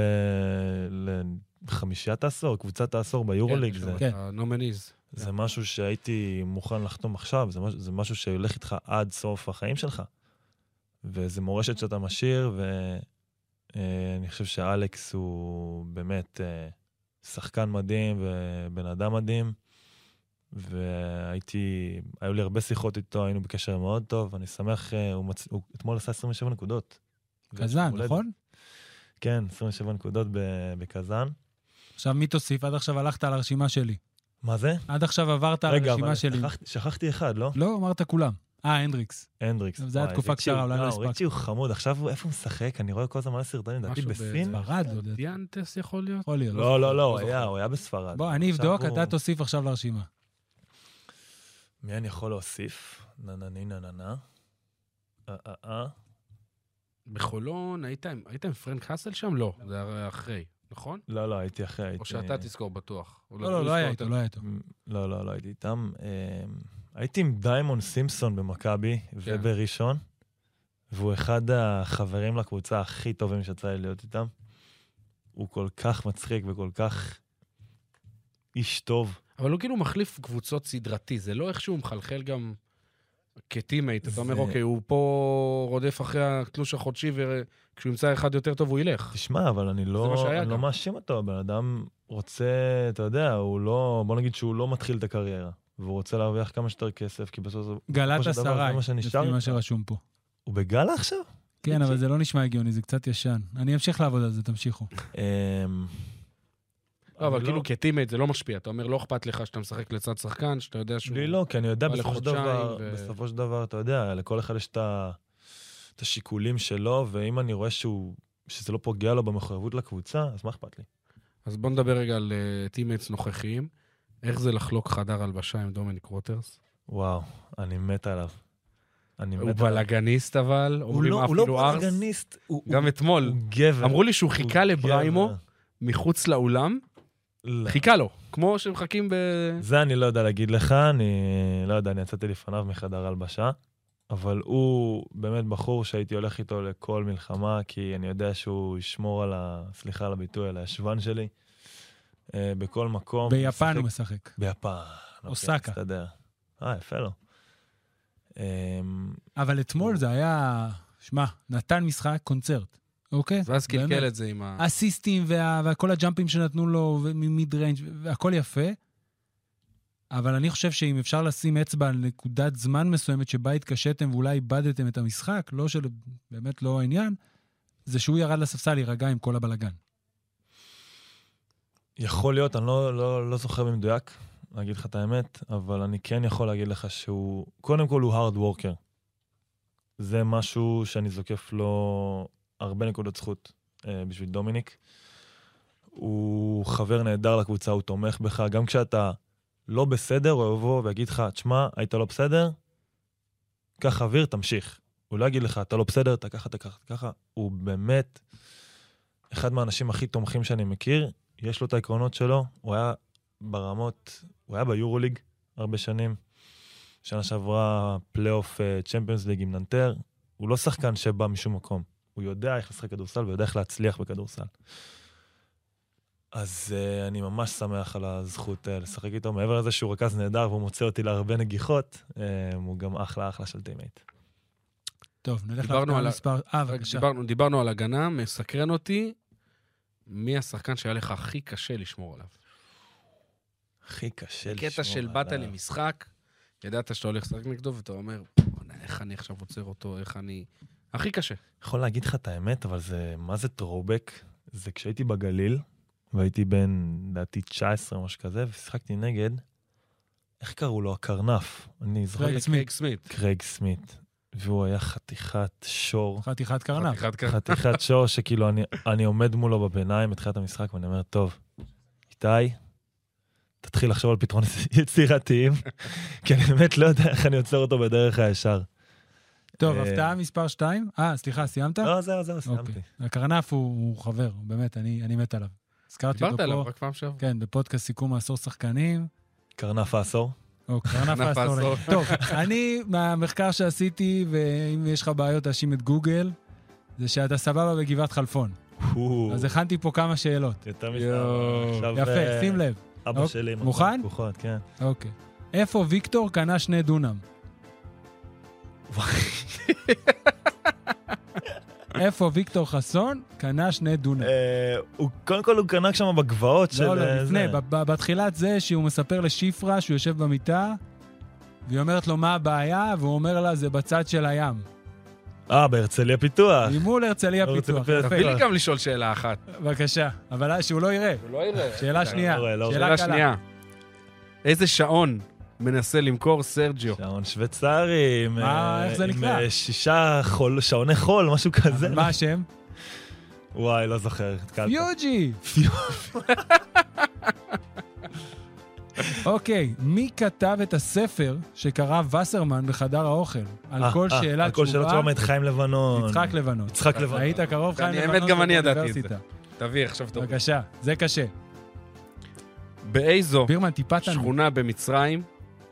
S4: לחמישיית העשור, קבוצת העשור ביורוליג. זה,
S1: כן.
S2: אה, נומניז.
S4: זה משהו שהייתי מוכן לחתום עכשיו, זה, מש... זה משהו שילך איתך עד סוף החיים שלך. וזה מורשת שאתה משאיר, ואני חושב שאלכס הוא באמת אה, שחקן מדהים ובן אדם מדהים. והייתי, היו לי הרבה שיחות איתו, היינו בקשר מאוד טוב, אני שמח, אה, הוא, מצ... הוא אתמול עשה 27 נקודות.
S1: קזן,
S4: הולדת.
S1: נכון?
S4: כן, 27 נקודות ב- בקזאן.
S1: עכשיו מי תוסיף? עד עכשיו הלכת על הרשימה שלי.
S4: מה זה?
S1: עד עכשיו עברת על
S4: רגע, אבל
S1: הרשימה שלי.
S4: שכחתי- שכחתי אחד, לא?
S1: לא, אמרת כולם. אה, הנדריקס.
S4: הנדריקס.
S1: זה היה
S4: וואי,
S1: תקופה
S4: ריצ'י
S1: קצרה,
S4: הוא-
S1: אולי לא הספקתי.
S4: ריצ'י הוא חמוד, עכשיו הוא- איפה הוא משחק? אני רואה כל הזמן מלא סרטונים, לדעתי
S2: משהו
S4: בסין?
S2: באיזה-
S1: ספרד, לא יודע.
S2: דיאנטס יכול להיות?
S1: יכול להיות.
S4: לא, לא, לא, הוא
S2: זוכר.
S4: היה, הוא היה בספרד.
S1: בוא, אני
S4: עכשיו
S1: אבדוק,
S4: הוא-
S1: אתה תוסיף עכשיו לרשימה.
S4: מי אני יכול להוסיף? נה נה נה נה נה נה. אה אה אה.
S2: בחולון, היית עם היית עם פרנק האסל שם? לא, זה הרי אחרי, נכון?
S4: לא, לא, הייתי אחרי, הייתי...
S2: או שאתה תזכור בטוח.
S1: לא, לא, לא היה איתו, לא היה איתו.
S4: לא, לא, לא הייתי איתם. אה, הייתי עם דיימון סימפסון
S1: כן.
S4: במכבי ובראשון, והוא אחד החברים לקבוצה הכי טובים שיצא לי להיות איתם. הוא כל כך מצחיק וכל כך איש טוב.
S2: אבל הוא כאילו מחליף קבוצות סדרתי, זה לא איכשהו מחלחל גם כטימייט. אתה
S4: זה-
S2: אומר, אוקיי, הוא פה רודף אחרי התלוש החודשי, וכשהוא ימצא אחד יותר טוב הוא ילך.
S4: תשמע, אבל אני
S2: זה מה
S4: לא,
S2: שהיה
S4: אני לא
S2: גם.
S4: מאשים אותו, הבן אדם רוצה, אתה יודע, הוא לא, בוא נגיד שהוא לא מתחיל את הקריירה, והוא רוצה להרוויח כמה שיותר כסף, כי בסוף זה-
S1: גלת
S4: של דבר, זה
S1: אסריי,
S4: מה שנשאר
S1: לפי מה
S4: איתך.
S1: שרשום פה.
S4: הוא בגאלה עכשיו?
S1: כן, אבל זה לא נשמע הגיוני, זה קצת ישן. אני אמשיך לעבוד על זה, תמשיכו.
S4: אה,
S2: לא, אבל
S4: אני
S2: כאילו כטימייט זה לא משפיע. אתה אומר, לא אכפת לך שאתה משחק לצד שחקן, שאתה יודע שהוא...
S4: לי לא, כי אני יודע
S2: בא
S4: בסופו של
S2: לחודשיים
S4: דבר,
S2: ו-
S4: בסופו של דבר, אתה יודע, לכל אחד יש את ה- את השיקולים שלו, ואם אני רואה שהוא, שזה לא פוגע לו במחויבות לקבוצה, אז מה אכפת לי?
S2: אז בוא נדבר רגע על אה, טימייטס נוכחיים. איך זה לחלוק חדר הלבשה עם דומיניק רוטרס?
S4: וואו, אני מת עליו. אני
S2: הוא
S4: מת עליו.
S2: בלאגניסט אבל,
S4: הוא
S2: אומרים
S4: לא- הוא לא
S2: אפילו ארס.
S4: פרגניסט, הוא הוא-
S2: גם אתמול,
S4: הוא גבר.
S2: אמרו לי שהוא
S4: הוא
S2: חיכה לבריימו
S4: גבר.
S2: מחוץ לאולם,
S4: לא.
S2: חיכה לו, כמו שמחכים ב...
S4: זה אני לא יודע להגיד לך, אני לא יודע, אני יצאתי לפניו מחדר הלבשה, אבל הוא באמת בחור שהייתי הולך איתו לכל מלחמה, כי אני יודע שהוא ישמור על ה... סליחה על הביטוי, על הישבן שלי, אה, בכל מקום.
S1: ביפן הוא
S4: משחק-
S1: משחק.
S4: ביפן. אוקיי,
S1: אוסקה.
S4: מסתדר. אה, יפה לו. אמ,
S1: אבל אתמול זה היה, שמע, נתן משחק, קונצרט, אוקיי?
S2: ואז
S1: באמת. אה,
S2: קלקל את זה עם ה...
S1: אסיסטים וה- וכל הג'אמפים שנתנו לו, ממיד ריינג' והכל יפה. אבל אני חושב שאם אפשר לשים אצבע על נקודת זמן מסוימת שבה התקשיתם ואולי איבדתם את המשחק, לא של... באמת לא העניין, זה שהוא ירד לספסל להירגע עם כל הבלגן.
S4: יכול להיות, אני לא, לא, לא זוכר במדויק, להגיד לך את האמת, אבל אני כן יכול להגיד לך שהוא, קודם כל הוא hard worker. זה משהו שאני זוקף לו הרבה נקודות זכות אה, בשביל דומיניק. הוא חבר נהדר לקבוצה, הוא תומך בך, גם כשאתה לא בסדר, הוא יבוא ויגיד לך, תשמע, היית לא בסדר, קח אוויר, תמשיך. הוא לא יגיד לך, אתה לא בסדר, אתה ככה, אתה ככה, אתה ככה. הוא באמת אחד מהאנשים הכי תומכים שאני מכיר, יש לו את העקרונות שלו, הוא היה ברמות, הוא היה ביורוליג הרבה שנים. שנה שעברה פלייאוף אה, צ'מפיונס ליג עם ננטר, הוא לא שחקן שבא משום מקום. הוא יודע איך לשחק כדורסל ויודע איך להצליח בכדורסל. אז uh, אני ממש שמח על הזכות uh, לשחק איתו. מעבר לזה שהוא רכז נהדר והוא מוצא אותי להרבה נגיחות, um, הוא גם אחלה אחלה של טיימייט.
S1: טוב, נלך
S2: דיברנו
S1: להפתעה
S2: על ה-
S1: מספר... אה,
S2: רק
S1: בבקשה.
S2: דיברנו, דיברנו על הגנה, מסקרן אותי מי השחקן שהיה לך הכי קשה לשמור עליו.
S4: הכי קשה לשמור
S2: קטע של באת
S4: עליו.
S2: למשחק, ידעת שאתה הולך לשחק נגדו, ואתה אומר, "בוא'נה, איך אני עכשיו עוצר אותו, איך אני... הכי קשה.
S4: יכול להגיד לך את האמת, אבל זה, מה זה טרובק? זה כשהייתי בגליל, והייתי בן, לדעתי, 19 או משהו כזה, ושיחקתי נגד, איך קראו לו? הקרנף. אני זוכר...
S1: קרייג
S4: את-
S1: סמית.
S2: קייג סמית.
S4: קרייג סמית. והוא היה חתיכת
S1: (laughs)
S4: שור.
S1: חתיכת קרנף.
S2: חתיכת קרנף.
S4: חתיכת שור שכאילו אני, אני עומד מולו בביניים בתחילת המשחק ואני אומר, טוב, איתי, תתחיל לחשוב על פתרונות (laughs) יצירתיים, כי אני באמת לא יודע איך אני עוצר אותו בדרך הישר.
S1: טוב,
S4: אה,
S1: הפתעה מספר 2. אה, סליחה, סיימת?
S4: לא, זהו, זהו, סיימתי.
S1: אוקיי. הקרנף הוא הוא חבר, באמת, אני אני מת עליו. הזכרתי
S2: דיברת עליו
S1: אותו פה,
S2: רק פעם שעברה.
S1: כן, בפודקאסט סיכום העשור שחקנים.
S4: קרנף העשור.
S1: או קרנף
S2: קרנף
S1: האסטרולוגי.
S2: האסטרולוגי.
S1: לא טוב, אני, מהמחקר שעשיתי, ואם יש לך בעיות, תאשים את גוגל, זה שאתה סבבה בגבעת חלפון. אז הכנתי פה כמה שאלות.
S4: יותר מזה.
S2: יואו.
S4: עכשיו,
S1: יפה,
S4: אה,
S1: שים לב.
S4: אבא
S1: אוקיי,
S4: שלי. עם
S1: מוכן?
S4: הרבה לקוחות, כן.
S1: אוקיי. איפה ויקטור קנה שני דונם? (laughs) איפה ויקטור חסון קנה שני דונם?
S4: אה, הוא- קודם כל הוא קנה שם בגבעות של...
S1: לא, לא,
S4: אה,
S1: לפני,
S4: זה.
S1: ב- ב- בתחילת זה שהוא מספר לשפרה שהוא יושב במיטה, והיא אומרת לו מה הבעיה, והוא אומר לה זה בצד של הים.
S4: אה, בהרצליה פיתוח.
S1: היא מול הרצליה
S4: לא רוצה
S1: פיתוח.
S4: לפיתוח.
S1: יפה.
S2: תביא לי גם לשאול שאלה אחת.
S1: בבקשה, אבל אה, שהוא לא יראה. שאלה שנייה,
S4: לא רואה, לא רואה.
S1: שאלה
S2: שאלה
S1: קלה.
S2: שנייה. איזה שעון מנסה למכור סרג'יו?
S4: שעון שוויצרי, עם,
S1: מה,
S4: אה,
S1: איך זה
S4: עם
S1: נקרא?
S4: אה, שישה חול, שעוני חול, משהו כזה.
S1: מה
S4: (laughs)
S1: השם?
S4: וואי, לא זוכר, התקלת.
S1: פיוג'י!
S4: פיו-
S1: אוקיי, מי כתב את הספר שקרא וסרמן בחדר האוכל? על
S4: אה,
S1: כל
S4: אה,
S1: שאלה
S4: על כל שאלה
S1: תשובה,
S4: תשובה מאת חיים לבנון.
S1: יצחק לבנון.
S4: יצחק לבנון.
S1: היית קרוב חיים
S2: אני-
S1: לבנון?
S2: האמת, גם אני ידעתי את זה.
S1: באוניברסיטה.
S2: תביא, עכשיו תוריד.
S1: בבקשה, זה קשה.
S2: באיזו
S1: בירמן, טיפה תנמיך.
S2: שכונה במצרים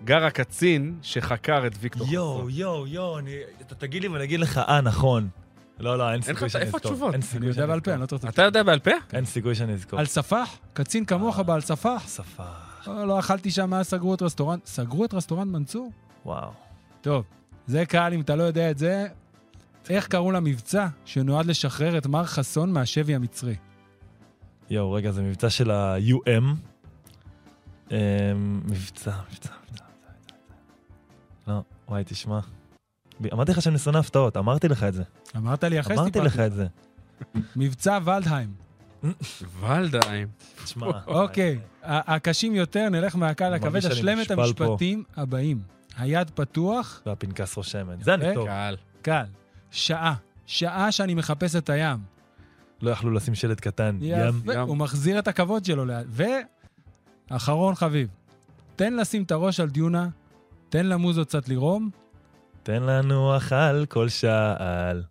S2: גר הקצין שחקר את ויקטור
S4: יואו,
S2: חסון?
S4: יואו, יואו, אני- אתה תגיד לי ואני אגיד לך, אה, נכון. לא, לא, אין
S2: לך-
S4: סיכוי שאני
S2: איפה
S4: אזכור.
S2: התשובות?
S4: אין
S1: אני
S4: סיכוי
S1: יודע
S4: שאני
S1: בעל פה,
S4: אזכור.
S1: אני לא צריך...
S2: אתה יודע בעל פה?
S4: אין סיכוי שאני אזכור.
S1: על ספח? קצין כמוך
S4: אה.
S1: בעל ספח?
S4: שפה,
S1: לא, לא אכלתי שם מאז סגרו את רסטורנט. סגרו את רסטורנט מנצור?
S4: וואו.
S1: טוב, זה קל, אם אתה לא יודע את זה. איך קראו למבצע שנועד לשחרר את מר חסון מהשבי המצרי?
S4: יואו, רגע, זה מבצע של ה-UM. אה, מבצע, מבצע, מבצע. לא, וואי, תשמע. ב- אמרתי לך שאני שונא הפתעות, אמרתי לך את זה.
S1: אמרת לי אחרי
S4: אמרתי לך את זה.
S1: מבצע ולדהיים.
S2: ולדהיים.
S4: תשמע.
S1: (laughs) אוקיי, ה- הקשים יותר, נלך מהקל
S4: אני
S1: לכבד,
S4: מרגיש שאני
S1: השלם את
S4: מושפל פה.
S1: המשפטים הבאים. היד פתוח,
S4: והפנקס רושמת. זה אני
S1: יפה.
S4: טוב.
S2: קהל.
S1: קל. שעה. שעה שאני מחפש את הים.
S4: לא יכלו לשים שלט קטן. ים.
S1: יפה.
S2: ים.
S1: הוא מחזיר את הכבוד שלו. לאט. ואחרון חביב, תן לשים את הראש על דיונה, תן למוזות קצת לרום,
S4: תן לנוח על כל שעל.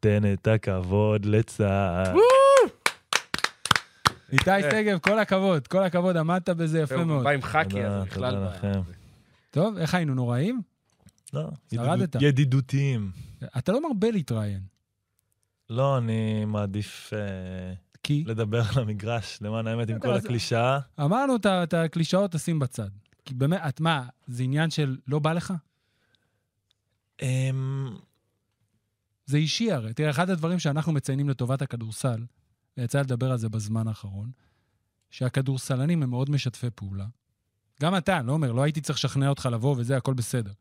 S4: תן את הכבוד לצה"ל.
S1: איתי שגב, כל הכבוד, כל הכבוד, עמדת בזה יפה מאוד.
S2: בא עם חאקי,
S4: תודה,
S2: אז בכלל
S4: תודה
S2: בעיה.
S4: לכם.
S1: טוב, איך היינו, נוראים?
S4: לא,
S1: שרדת.
S4: ידידות- ידידותיים.
S1: אתה לא מרבה להתראיין,
S4: לא, אני מעדיף אה,
S1: כי
S4: לדבר על המגרש, למען האמת, עם
S1: בסדר,
S4: כל
S1: אז-
S4: הקלישאה.
S1: אמרנו את ה- את הקלישאות תשים בצד. כי באמת, את מה, זה עניין של לא בא לך?
S4: אמ,
S1: זה אישי הרי. תראה, אחד הדברים שאנחנו מציינים לטובת הכדורסל, ויצא לדבר על זה בזמן האחרון, שהכדורסלנים הם מאוד משתפי פעולה. גם אתה, לא אומר, לא הייתי צריך לשכנע אותך לבוא וזה, הכל בסדר.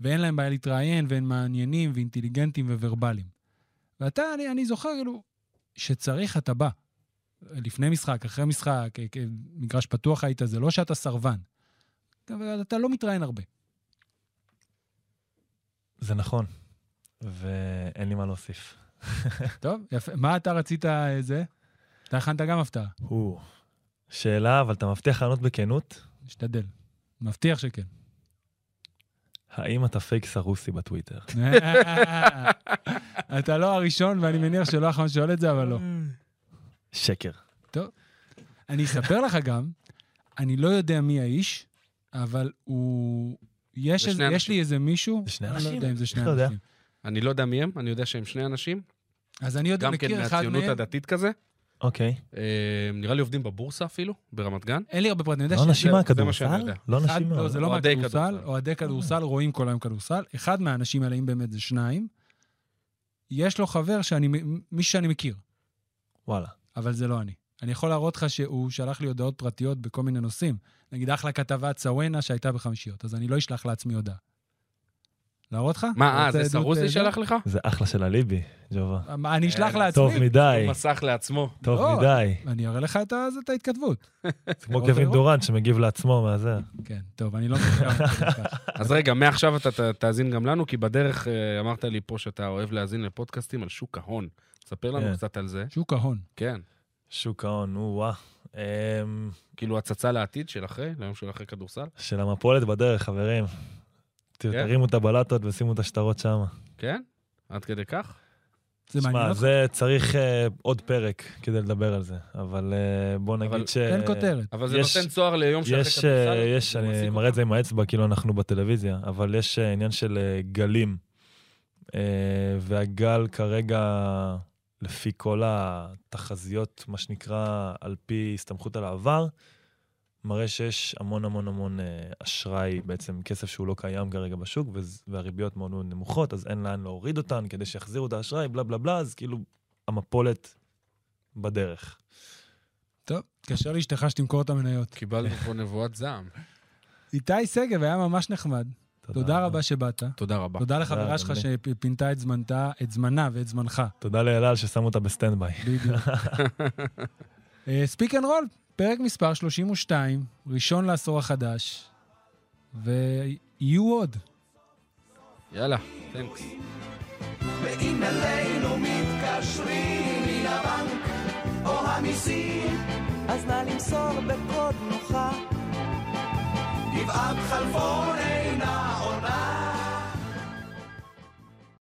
S1: ואין להם בעיה להתראיין, והם מעניינים ואינטליגנטים וורבליים. ואתה, אני, אני זוכר, כאילו, שצריך אתה בא. לפני משחק, אחרי משחק, אה, אה, מגרש פתוח היית, זה לא שאתה סרבן. אבל אתה לא מתראיין הרבה. (laughs)
S4: זה נכון, ואין לי מה להוסיף.
S1: טוב, יפה. מה אתה רצית אה, זה? אתה הכנת גם הפתעה.
S4: הוא. שאלה, אבל אתה מבטיח לענות בכנות?
S1: אשתדל. מבטיח
S4: (laughs)
S1: שכן.
S4: האם אתה פייק סרוסי בטוויטר?
S1: אתה לא הראשון, ואני מניח שלא האחרון שואל את זה, אבל לא.
S4: שקר.
S1: אני אספר לך גם, אני לא יודע מי האיש, אבל הוא... יש,
S2: זה
S1: איזה,
S2: שני
S1: יש לי איזה מישהו,
S4: זה שני
S1: אני
S4: אנשים?
S1: לא יודע אם זה שני
S4: איך אתה יודע?
S1: אנשים.
S2: אני לא יודע מי הם, אני יודע שהם שני אנשים,
S1: אז אני יודע,
S2: גם
S1: מכיר
S2: כן
S1: אחד מהם,
S2: מהציונות הדתית כזה.
S4: אוקיי.
S2: אה, נראה לי עובדים בבורסה אפילו, ברמת גן.
S1: אין לי הרבה פרטים. אני יודע
S4: לא נשימה
S2: זה- זה מה שאני
S4: כדורסל?
S2: יודע.
S4: לא
S1: אחד-
S4: נשימה.
S1: לא, זה לא
S2: אוהדי
S1: מהכדורסל,
S2: כדורסל.
S1: אוהדי כדורסל רואים כל היום כדורסל. אחד מהאנשים האלה, אם באמת זה שניים, יש לו חבר שאני, מ- מישהו שאני מכיר,
S4: וואלה.
S1: אבל זה לא אני. אני יכול להראות לך שהוא שלח לי הודעות פרטיות בכל מיני נושאים. נגיד, אחלה כתבה צוואנה שהייתה בחמישיות, אז אני לא אשלח לעצמי הודעה. להראות לך?
S2: מה, אה,
S1: רוצה
S2: זה
S1: עדות, אה,
S2: סרוסי
S1: זה?
S2: שלח לך?
S4: זה אחלה של אליבי, ג'ובה.
S1: מה, אני אשלח
S2: אה,
S1: לעצמי.
S4: טוב מדי,
S2: הוא מסך לעצמו.
S4: טוב
S1: לא.
S4: מדי.
S1: אני אראה לך את ה- זה- את
S2: (laughs)
S1: ההתכתבות.
S4: זה כמו
S1: רוצה
S4: קווין
S1: לראות?
S4: דורן שמגיב לעצמו מהזה.
S1: כן, טוב, אני לא מכיר ככה.
S2: אז רגע, מעכשיו אתה ת- תאזין גם לנו, כי בדרך אה, אמרת לי פה שאתה אוהב להאזין לפודקאסטים על שוק ההון. ספר לנו
S4: כן.
S2: קצת על זה.
S1: שוק ההון.
S2: כן.
S4: שוק ההון, נו וואה. אמ,
S2: כאילו הצצה לעתיד של אחרי, ליום של אחרי כדורסל.
S4: של המפולת בדרך, חברים. ת-
S2: כן?
S4: תרימו את הבלטות ושימו את השטרות שם.
S2: כן? עד כדי כך?
S1: זה מעניין
S4: שמע,
S1: אותך?
S4: זה צריך אה, עוד פרק כדי לדבר על זה, אבל אה, בוא
S2: אבל
S4: נגיד ש...
S1: אין כותרת.
S2: אבל זה
S4: יש-
S2: נותן צוהר ליום שאחרי
S4: יש,
S2: כדורסל.
S4: אה, יש, אני
S2: מעסיק
S4: מראה את
S2: אותך.
S4: זה עם האצבע, כאילו אנחנו בטלוויזיה, אבל יש אה, עניין של אה, גלים. אה, והגל כרגע, לפי כל התחזיות, מה שנקרא, על פי הסתמכות על העבר, מראה שיש המון המון המון אה, אשראי, בעצם כסף שהוא לא קיים כרגע בשוק, וזה- והריביות מאוד מאוד נמוכות, אז אין לאן להוריד אותן כדי שיחזירו את האשראי, בלה בלה בלה, אז כאילו המפולת בדרך.
S1: טוב, תתקשר לאשתך שתמכור את המניות.
S2: קיבלנו פה נבואת זעם.
S1: איתי שגב היה ממש נחמד. תודה רבה שבאת.
S2: תודה רבה.
S1: תודה לחברה
S4: תודה,
S1: שלך
S4: אדוני.
S1: שפינתה את זמנתה, את זמנה ואת זמנך.
S4: תודה לאלעל ששמו אותה בסטנדביי.
S1: בדיוק. אה, ספיק אנד רול, פרק מספר 32, ראשון לעשור החדש, ויהיו עוד.
S2: יאללה, תנקס.
S5: ואם אלינו מתקשרים מן הבנק או המיסים, אז נא למסור בקוד נוחה. גבעת חלפון